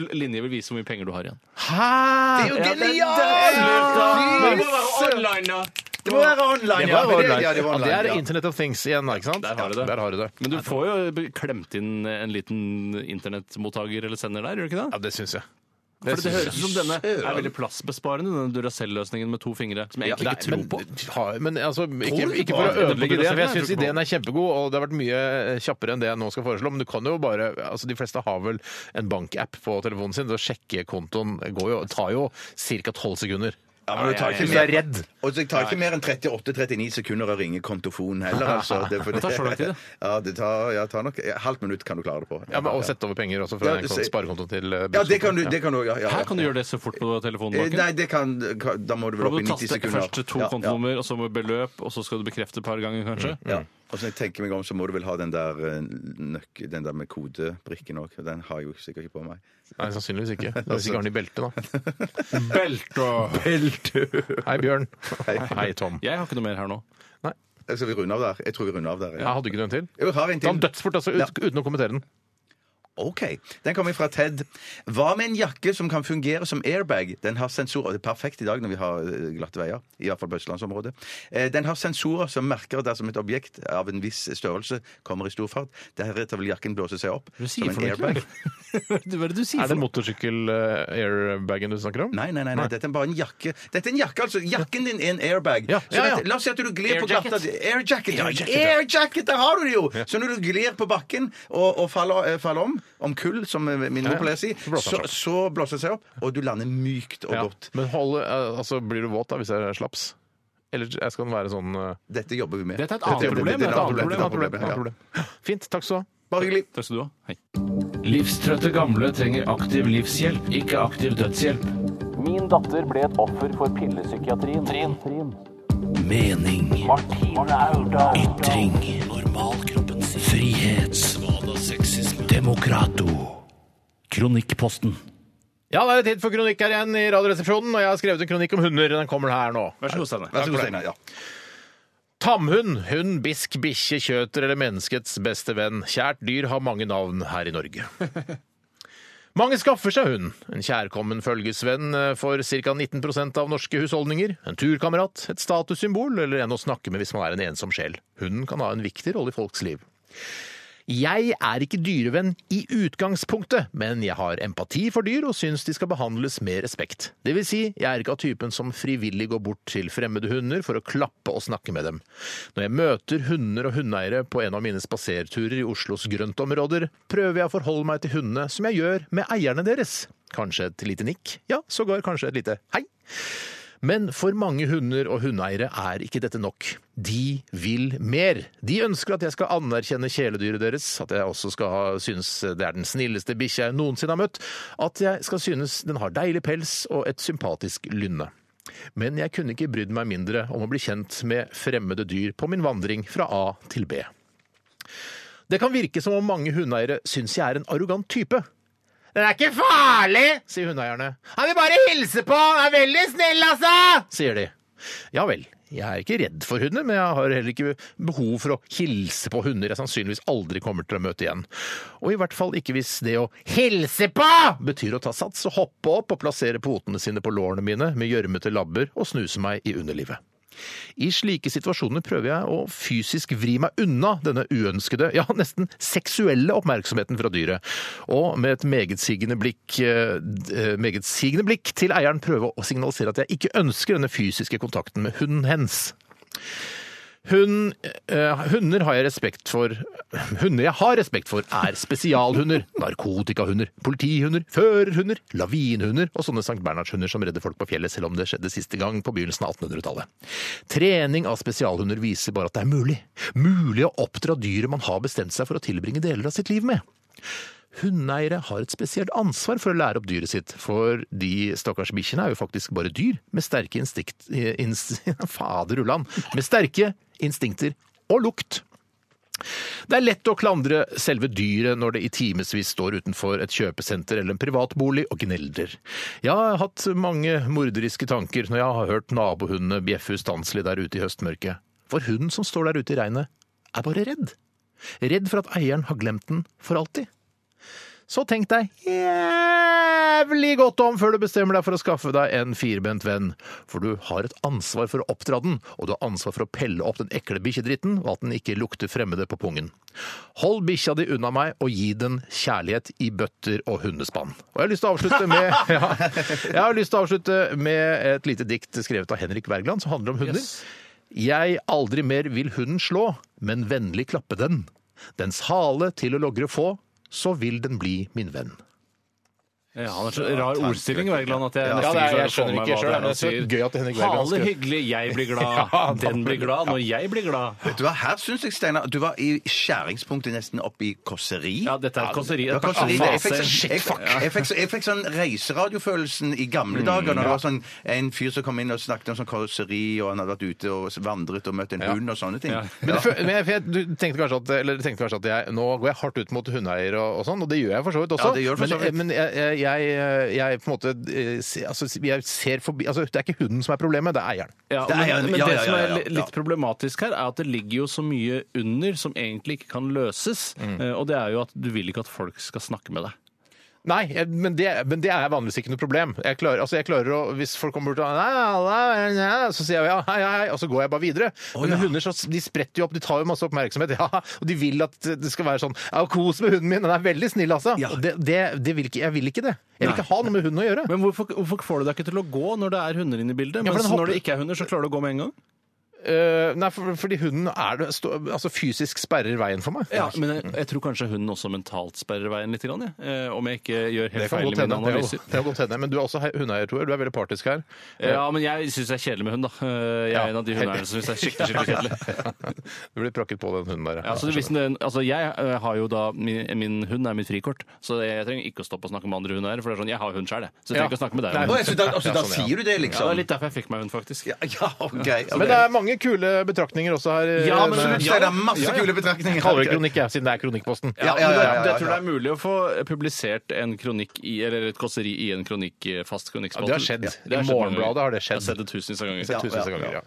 gul linje vil vise hvor mye penger du har igjen.
Hæ?
Det er jo
Ja, det-
genialt!
det er
Fy
slutt, da! Men det må være online, da!
Det må være online,
Det var
ja. men
online.
ja, det var
Ja, det
online,
er
ja.
Internet of Things igjen, da, ikke sant?
Der har du det.
Ja, Der har du det.
Men du får jo klemt inn en liten internettmottaker eller sender der, gjør du ikke
Ja,
det?
det syns jeg.
For det
synes
høres ut som denne er veldig plassbesparende, denne Duracell-løsningen med to fingre. Som jeg egentlig
Nei,
ikke tror
men-
på.
ha- Men altså,
Tror
ikke,
du
ikke
på
for å
det?
ødelegge
Det
det,
er
for jeg
jeg
syns
tror på.
ideen er kjempegod, og det har vært mye eh, kjappere enn det jeg nå skal foreslå, men du kan jo bare altså De fleste har vel en bankapp på telefonen sin, så å sjekke kontoen går jo, tar jo ca. tolv sekunder.
Ja, men du tar ikke
Hvis du
mer-
er redd.
Og så jeg tar ikke mer enn 38-39 sekunder å ringe kontofon heller, altså. er for
Det tar så lang tid, det.
Ja, det tar, ja, tar nok ja, halvt minutt kan du klare det på.
Ja, men Og sette over penger også
Ja,
fra en
det
kont-
ser-
sparekonto til eh,
Ja, det kan du
brukskonto.
det kan du, ja, ja,
Her kan du gjøre det så fort på
Eh,
telefonbanken.
Nei, det kan Da må du vel
Da må
opp i
du
90
taste
sekunder.
først to
Ja, ja.
kontonummer, og så må beløp, og så skal du bekrefte et par ganger, kanskje.
Ja. Og så når jeg tenker meg om, så må du vel ha den der, eh, nøkk- den der med kodebrikken òg. Den har jeg jo sikkert ikke på meg.
Nei, sannsynligvis ikke. Da Hvis ikke har den i beltet, da.
Belte!
Hei, Bjørn.
Hei.
Hei, Tom.
Jeg har ikke noe mer her nå.
Eh, Skal vi runde av der? Jeg tror vi runder av der.
Ja, hadde du ikke den til?
Jeg har en
Ta den
til.
dødsfort, altså, ut, uten å kommentere den.
OK. Den kommer fra Ted. Hva med en jakke som kan fungere som airbag? Den har sensorer. Det er perfekt i dag når vi har eh, glatte veier. Iallfall på østlandsområdet. Eh, Den har sensorer som merker dersom et objekt av en viss størrelse kommer i stor fart. Deretter vil jakken blåse seg opp
Hva
som
er det du sier
en
for noe?
airbag.
Knut? Hva er det du
Er
sier
det
for noe?
motorsykkel-airbagen du snakker om?
Nei, nei, nei, nei, dette er bare en jakke. Dette er en jakke, altså. Jakken din er en airbag.
Ja,
Så
ja, ja.
dette- La oss si at du glir
Air
på gata
jacket.
Air
Air
jacket. ja.
jacket, ja.
Air jacket, der har du det jo! Så når du glir på bakken og, og faller, eh, faller om, om kull, som eh, min
ja.
mor sier,
Så blåser
så,
den
så blåser det seg opp, og du lander mykt og
Ja.
godt.
Men hold, eh, altså, blir du våt da hvis jeg er slaps? Eller jeg skal den være sånn eh,
Dette jobber vi med.
Dette er et
Dette
annet
jobber vi med.
problem,
Det er
et annet problem,
et annet problem,
Annet
ja.
problem. Fint, takk skal du ha.
Bare hyggelig.
Takk skal du ha. Hei.
Livstrøtte gamle trenger aktiv livshjelp, ikke aktiv dødshjelp. Min datter ble et offer for pillepsykiatrien. Mening. Ytring. Normalkroppen sin. Frihet. Svada sexisme. Demokrato. Kronikkposten.
Ja, da er det tid for kronikk her igjen i Radioresepsjonen, og jeg har skrevet en kronikk om hunder. Den kommer her nå.
Vær så god, Steinar.
Vær så god, Steinar. Ja.
Tamhund, hund, bisk, bikkje, kjøter eller menneskets beste venn. Kjært dyr har mange navn her i Norge. Mange skaffer seg hund. En kjærkommen følgesvenn eh, for ca. 19 av norske husholdninger. En turkamerat, et statussymbol eller en å snakke med hvis man er en ensom sjel. Hunden kan ha en viktig rolle i folks liv. Jeg er ikke dyrevenn i utgangspunktet, men jeg har empati for dyr og syns de skal behandles med respekt. Det vil si, jeg er ikke av typen som frivillig går bort til fremmede hunder for å klappe og snakke med dem. Når jeg møter hunder og hundeeiere på en av mine spaserturer i Oslos grøntområder, prøver jeg å forholde meg til hundene som jeg gjør med eierne deres. Kanskje et lite nikk, ja, sågar kanskje et lite hei. Men for mange hunder og hundeeiere er ikke dette nok. De vil mer. De ønsker at jeg skal anerkjenne kjæledyret deres, at jeg også skal ha, synes det er den snilleste bikkja jeg noensinne har møtt, at jeg skal synes den har deilig pels og et sympatisk lynne. Men jeg kunne ikke brydd meg mindre om å bli kjent med fremmede dyr på min vandring fra A til B. Det kan virke som om mange hundeeiere syns jeg er en arrogant type. Den er ikke farlig, sier hundeeierne. Han vil bare hilse på, han er veldig snill, altså, sier de. Ja vel, jeg er ikke redd for hunder, men jeg har heller ikke behov for å hilse på hunder jeg sannsynligvis aldri kommer til å møte igjen. Og i hvert fall ikke hvis det å hilse på betyr å ta sats og hoppe opp og plassere potene sine på lårene mine med gjørmete labber og snuse meg i underlivet. I slike situasjoner prøver jeg å fysisk vri meg unna denne uønskede, ja, nesten seksuelle oppmerksomheten fra dyret, og med et megetsigende blikk, eh, d- eh, megetsigende blikk til eieren prøve å signalisere at jeg ikke ønsker denne fysiske kontakten med hunden hens. Hun, eh, hunder har jeg respekt for Hunder jeg har respekt for, er spesialhunder, narkotikahunder, politihunder, førerhunder, lavinhunder og sånne St. Bernhardshunder som redder folk på fjellet, selv om det skjedde siste gang på begynnelsen av 1800-tallet. Trening av spesialhunder viser bare at det er mulig. Mulig å oppdra dyret man har bestemt seg for å tilbringe deler av sitt liv med. Hundeeiere har et spesielt ansvar for å lære opp dyret sitt, for de stakkars bikkjene er jo faktisk bare dyr med sterke instinkt... Inst, fader ulland! Med sterke instinkter og lukt. Det er lett å klandre selve dyret når det i timevis står utenfor et kjøpesenter eller en privatbolig og gneldrer. Jeg har hatt mange morderiske tanker når jeg har hørt nabohundene bjeffe ustanselig der ute i høstmørket. For hunden som står der ute i regnet, er bare redd. Redd for at eieren har glemt den for alltid. Så tenk deg jævlig godt om før du bestemmer deg for å skaffe deg en firbent venn. For du har et ansvar for å oppdra den, og du har ansvar for å pelle opp den ekle bikkjedritten, og at den ikke lukter fremmede på pungen. Hold bikkja di unna meg, og gi den kjærlighet i bøtter og hundespann. Og jeg har lyst til å avslutte med, ja, jeg har lyst til å avslutte med et lite dikt skrevet av Henrik Wergeland, som handler om hunder. Jeg aldri mer vil hunden slå, men vennlig klappe den. Dens hale til å logre få, så vil den bli min venn.
Ja, han er så rar ordstilling, Wergeland, at jeg
Ja, det
nesten
er-
klarer å
jeg skjønner
få med
ikke
hva
selv, men
det er han
det er så
sier.
gøy at Henrik Wergeland
Hale
skrev-
hyggelig, jeg blir
Ja,
glad, den blir glad, når jeg blir glad.
Vet du hva, Her syns jeg, Steinar, du var i skjæringspunktet nesten opp i kåseri.
Ja, dette er kåseri.
Ja, kåseri. Det- Jeg fikk sånn,
Shit,
jeg,
fuck.
jeg fikk, så- jeg fikk sånn reiseradiofølelsen i gamle dager, når det var sånn en fyr som kom inn og snakket om sånn kåseri, og han hadde vært ute og vandret og møtt en hund og sånne ting.
Ja.
Ja.
Men, det, fø- men jeg, for jeg, du tenkte kanskje at, eller tenkte kanskje at jeg, nå går jeg hardt ut mot hundeeier og, og sånn, og det gjør jeg for så vidt også.
Ja, det gjør du for så vidt.
Men, men jeg, jeg, jeg, jeg på en måte eh, se- altså, jeg ser forbi altså, Det er ikke hunden som er problemet, det er eieren.
Ja,
Det er
men,
jo-
men
ja,
det
ja,
som
ja,
er
ja,
li-
ja.
litt problematisk her, er at det ligger jo så mye under som egentlig ikke kan løses.
Mm.
Eh, Og det er jo at du vil ikke at folk skal snakke med deg.
Nei, jeg, men, det, men det er vanligvis ikke noe problem. Jeg klarer, altså, jeg klarer å, Hvis folk kommer bort og nei, nei, nei, nei, så sier jeg ja, hei, hei, hei, og så går jeg bare videre. men hunder så, de spretter jo opp, de tar jo masse oppmerksomhet, ja, og de vil at det skal være sånn ja, 'Kos med hunden min', den er veldig snill, altså.
Ja.
Og Det, det, det vil ikke, jeg vil ikke det. Jeg vil ikke ha noe med hunden å gjøre.
Men hvorfor, hvorfor får du deg ikke til å gå når det er hunder inne i bildet?
Ja, for
mens
den hopper-
når det ikke er hunder, så klarer du å gå med en gang?
Eh, nei, for, fordi hunden er det, stå, altså fysisk sperrer veien for meg.
Ja, men jeg, jeg tror kanskje hunden også mentalt sperrer veien litt, grann, jeg. Eh, om jeg ikke gjør
Det
helt
kan
feil
godt
i mine
hende. Det er jo-
analyser.
det er jo godt hende. Men du er også he- hundeeier, Tore. Du er veldig partisk her.
Ja, men jeg syns det er kjedelig med hund, da. Eh, Jeg
Eh, Ja.
er en av de hundeeierne som syns det er skikkelig skikkelig kjedelig.
Du blir prakket på den hunden der.
Ja, så hvis den, altså jeg eh, har jo da, min, min hund er mitt frikort, så jeg trenger ikke å stoppe å snakke med andre hundeeiere. For det er sånn, jeg har hund sjøl, jeg.
Ja.
Så jeg trenger ikke å snakke med deg.
Nei.
om
Og
hund.
så da, og så da
Ja, sånn, ja.
sier du det,
Ja, det er
liksom.
litt derfor jeg fikk meg hund, faktisk.
Ja, ja, ok.
Men det er mange kule betraktninger også her.
Ja, men-
Rune.
Absolutt, Steinar. Masse kule betraktninger.
Jeg kaller det kronikk, jeg, siden det er Kronikkposten.
Ja, ja, ja, ja, ja,
Jeg tror det
ja.
er mulig å få publisert en kronikk i, eller et kåseri i en kronikk i fast kronikkspalte.
Ja, det har skjedd.
Det
I
har skjedd mange
Morgenbladet
ganger.
har det skjedd.
Jeg har sett det tusenvis av ganger.
Ja, tusenvis av ganger, ja.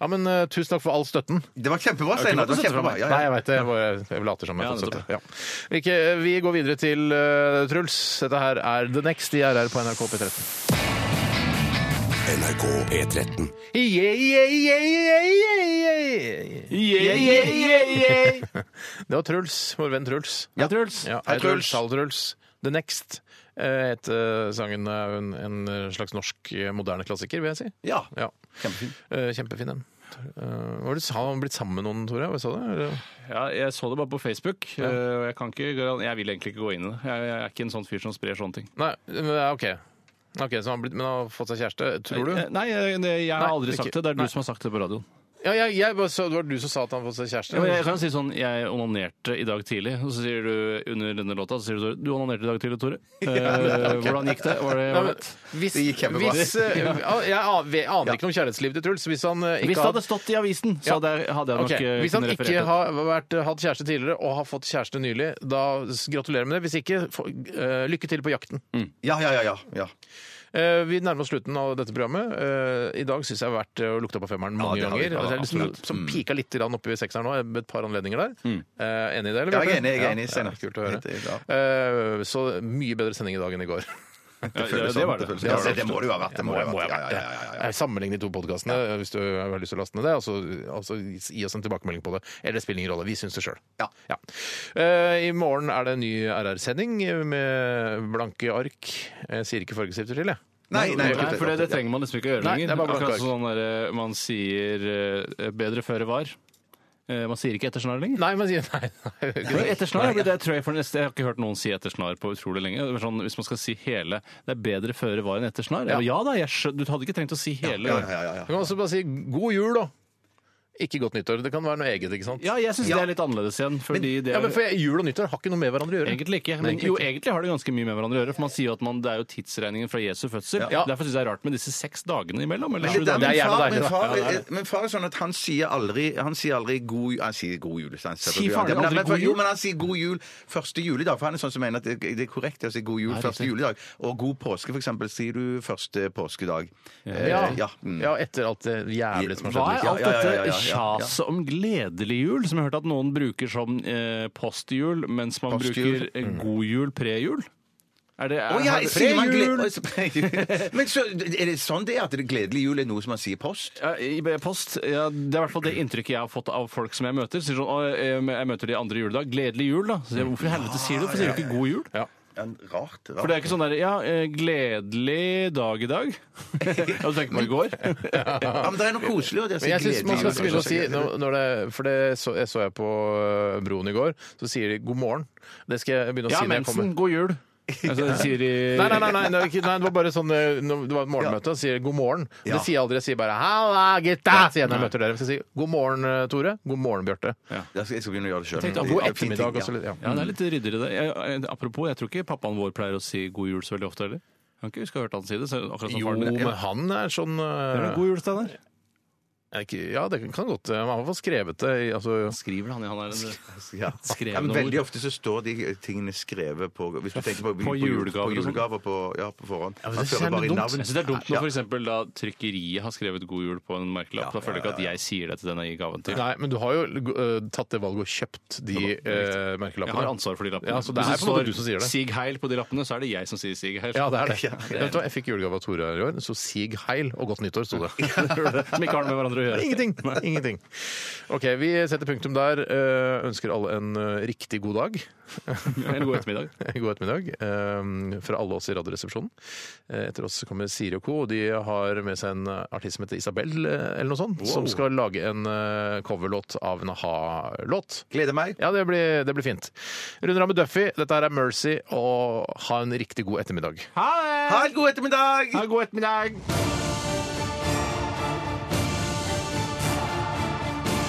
ja, men eh, tusen takk for all støtten.
Det var kjempebra, Steinar. Det var kjempebra. Ja,
Nei,
ja.
jeg veit det. Jeg, bare, jeg later som jeg
Ja,
har fått støtte.
nettopp.
Ja. Ikke, vi går videre til eh, Truls. Dette her er The Next i RR på NRK P13.
NRK P13.
Yeah, yeah, yeah, yeah, yeah, yeah.
Yeah, yeah, yeah, yeah.
Det var Truls, vår venn Truls.
Ja, Truls.
Ja,
Hei,
Hei, Truls.
Truls.
Hall Truls. The Next eh, het eh, sangen av en, en slags norsk eh, moderne klassiker, vil jeg si.
ja.
Ja,
Kjempefin.
eh, Kjempefin den. Eh, Hva var det du sa? Han blitt sammen med noen, Tore? Hva sa du? Eller-
Ja, jeg så det bare på Facebook. eh, og Jeg, kan ikke, garan- jeg vil egentlig ikke gå inn i det. Jeg, jeg er ikke en sånn fyr som sprer sånne ting.
Nei, men, ja, OK. Ok, Så han blitt, men han har fått seg kjæreste, tror du?
Eh, Nei, jeg, jeg har
Nei,
aldri
ikke-
sagt det. Det er
nei.
du som har sagt det på radioen.
Ja, jeg, jeg, bare så, Det var du som sa at han har fått seg kjæreste?
Ja, men jeg kan jo si sånn, jeg onanerte i dag tidlig, og så sier du under denne låta så sier du, du onanerte i dag tidlig, Tore. Eh, Hvordan gikk det? Var det
Nei, men,
ålreit?
hvis,
Det gikk kjempebra.
hvis, eh, ja, jeg aner aner ikke noe om kjærlighetslivet til Truls. Hvis han eh, ikke
Hvis det
har-
hadde stått i avisen,
Ja.
så hadde jeg, hadde jeg nok
Ok,
eh,
Hvis han
kunnet referert
ikke
det.
har vært, eh, hatt kjæreste tidligere og har fått kjæreste nylig, da s- gratulerer med det. Hvis ikke, få- eh, lykke til på jakten.
Ja, ja, ja, ja. ja.
Eh, vi nærmer oss slutten av dette programmet. Eh, I dag syns jeg det har vært eh, å lukte på femmeren mange
det har vi,
ganger.
ja,
Altså, jeg er liksom,
absolutt. Mm.
som pika litt grann oppi sekseren nå, med et par anledninger der. Eh, enig i det? eller,
Ja,
Bjarte?
jeg er enig, jeg er enig,
Ja,
Steinar.
ja, kult å
Helt enig,
høre. Eh, så mye bedre sending i dag enn i går.
Ja,
føles
det
sånn,
var det.
det føles
Det
sånn.
var det.
Ja, det må det jo ha vært. Det må det ha vært. Ja, ja, ja, ja, ja.
Eh, Sammenlign de to podkastene hvis du har lyst til å laste ned det. Altså, altså Gi oss en tilbakemelding på det. Eller det spiller ingen rolle. Vi syns det sjøl.
Ja.
Eh, I morgen er det en ny RR-sending med blanke ark. Jeg sier ikke fargestifter til, jeg.
Nei, nei,
Nei, for det, det trenger man liksom ikke å gjøre
Nei, det er
lenger.
bare blanke
Akkurat
ark.
sånn der, eh, man sier eh, bedre føre var. Eh, Man sier ikke etter snar lenger.
Nei, men sier nei. nei.
Etter snar, det, det tror jeg, for det neste, jeg har ikke hørt noen si etter snar på utrolig lenge. Det er Sånn, hvis man skal si hele Det er bedre føre var enn etter snar. Ja, ja da, jeg skjø- du hadde ikke trengt å si hele.
Ja, ja, ja, ja.
Du kan også bare si 'god jul', da. Ikke godt nyttår. Det kan være noe eget, ikke sant?
Ja, jeg syns det er litt annerledes igjen. Fordi det
Ja,
er
men for jeg- Jul og nyttår har ikke noe med hverandre å gjøre.
Egentlig ikke. Men
egentlig
jo,
ikke.
egentlig har det ganske mye med hverandre å gjøre. For man sier jo at man, det er jo tidsregningen fra Jesu fødsel.
Ja.
Derfor syns jeg det er rart med disse seks dagene imellom.
Men
Eller sju
det der,
dager.
Det er
min,
jævla deilig,
far, min,
da.
far,
Ja, det er det.
min far er sånn at han sier aldri Han sier aldri god jul Han sier god jul. så han setter
Sier
opp
faren
jula.
din
Men-
aldri
men-
god jul?
Jo, men han sier god jul første juledag. For han er sånn som mener at det, det er korrekt å si god jul første juledag. Og god påske, for eksempel, sier du første påskedag. Eh,
Ja.
ja, mm.
ja, etter alt det jævlige som har skjedd.
Hva er
Ja,
alt
ja, ja, ja, ja,
dette
ja.
sjaset om gledelig jul, som jeg har hørt at noen bruker som eh, postjul, mens man
Postjul.
bruker eh, god jul, prejul? Er det, er,
Mm. Å, ja,
er det-
sier man gled... Men så, er det sånn det er at det gledelig jul er noe som man sier post?
Ja, i post, ja, Det er i hvert fall det inntrykket jeg har fått av folk som jeg møter. Sier sånn, å, jeg, jeg møter de andre juledag. Gledelig jul, da. Så sier jeg, hvorfor i helvete sier du det? Hvorfor sier du ikke god jul?
Ja, rart.
For det
rart.
er ikke sånn der, ja, eh, gledelig dag i dag. Ja, du tenker på i går?
Ja, men det er noe koselig å det å si
Men jeg synes man
gledelig
skal begynne
jul.
å si når- når det, For det så jeg, så jeg på øh, Broen i går, så sier de 'god morgen'. Det skal jeg begynne å
Ja,
si når jeg
mensen,
kommer.
god jul. Altså, det sier de
Nei, nei, nei, nei, det var ikke- nei, det var bare sånn eh, nå- Det var et morgenmøte, og sier god morgen.
Ja.
Det sier jeg aldri. Jeg sier bare 'halla, gutta', sier jeg når jeg møter dere. Så jeg sier god morgen, eh, Tore. God morgen, Bjarte.
Jeg skal jeg skal begynne å gjøre det
Jeg tenkte,
sjøl.
god ettermiddag også litt, ja.
Ja, det er litt ryddigere det. Jeg, jeg- eh, apropos, jeg tror ikke pappaen vår pleier å si god jul så veldig ofte heller. Jeg kan ikke huske å ha hørt han si det. Så akkurat som
Jo,
faren min.
men han er sånn
Er det
eh,
god jul, Steinar?
er ikke- Ja, det kan godt eh, Han har i hvert fall skrevet det. i- Altså,
Skriver han, han er en
Ja.
skrevne
Ja, men
ord.
veldig ofte så står de tingene skrevet på Hvis du tenker på,
På
på,
julegaver og sånn.
julegaver på, ja, på forhånd.
men
Man
det er
fører bare i
dumt.
navn.
Jeg synes det er dumt når
Ja.
for eksempel da trykkeriet har skrevet 'God jul' på en merkelapp. da føler jeg ikke at jeg sier det til den jeg gir gaven til.
Nei, men du har jo eh, tatt det valget og kjøpt de eh, merkelappene.
Jeg har ansvar for de lappene.
Ja, så det er
Hvis
på en måte du som sier det.
Sig Heil på de lappene, så er det jeg som sier Sig Heil.
Ja, det er det.
Ja, det er-
Vet du hva, Jeg fikk julegave av Tore her i år, så sig heil og godt nyttår, sto det.
Som ikke har noe med hverandre å gjøre.
Ingenting! Ingenting. OK, vi setter punktum der. Eh, Ønsker alle en eh, riktig god dag.
Eller god ettermiddag.
God ettermiddag eh, fra alle oss i Radioresepsjonen. Eh, Etter oss kommer Siri og co. og De har med seg en artist som heter Isabel, eh, eller noe sånt, som skal lage en eh, coverlåt av en a-ha-låt.
Gleder meg.
Ja, det blir, det blir fint. Runder av med Duffy. Dette her er Mercy, og ha en riktig god ettermiddag.
Ha en god ettermiddag!
Ha god ettermiddag!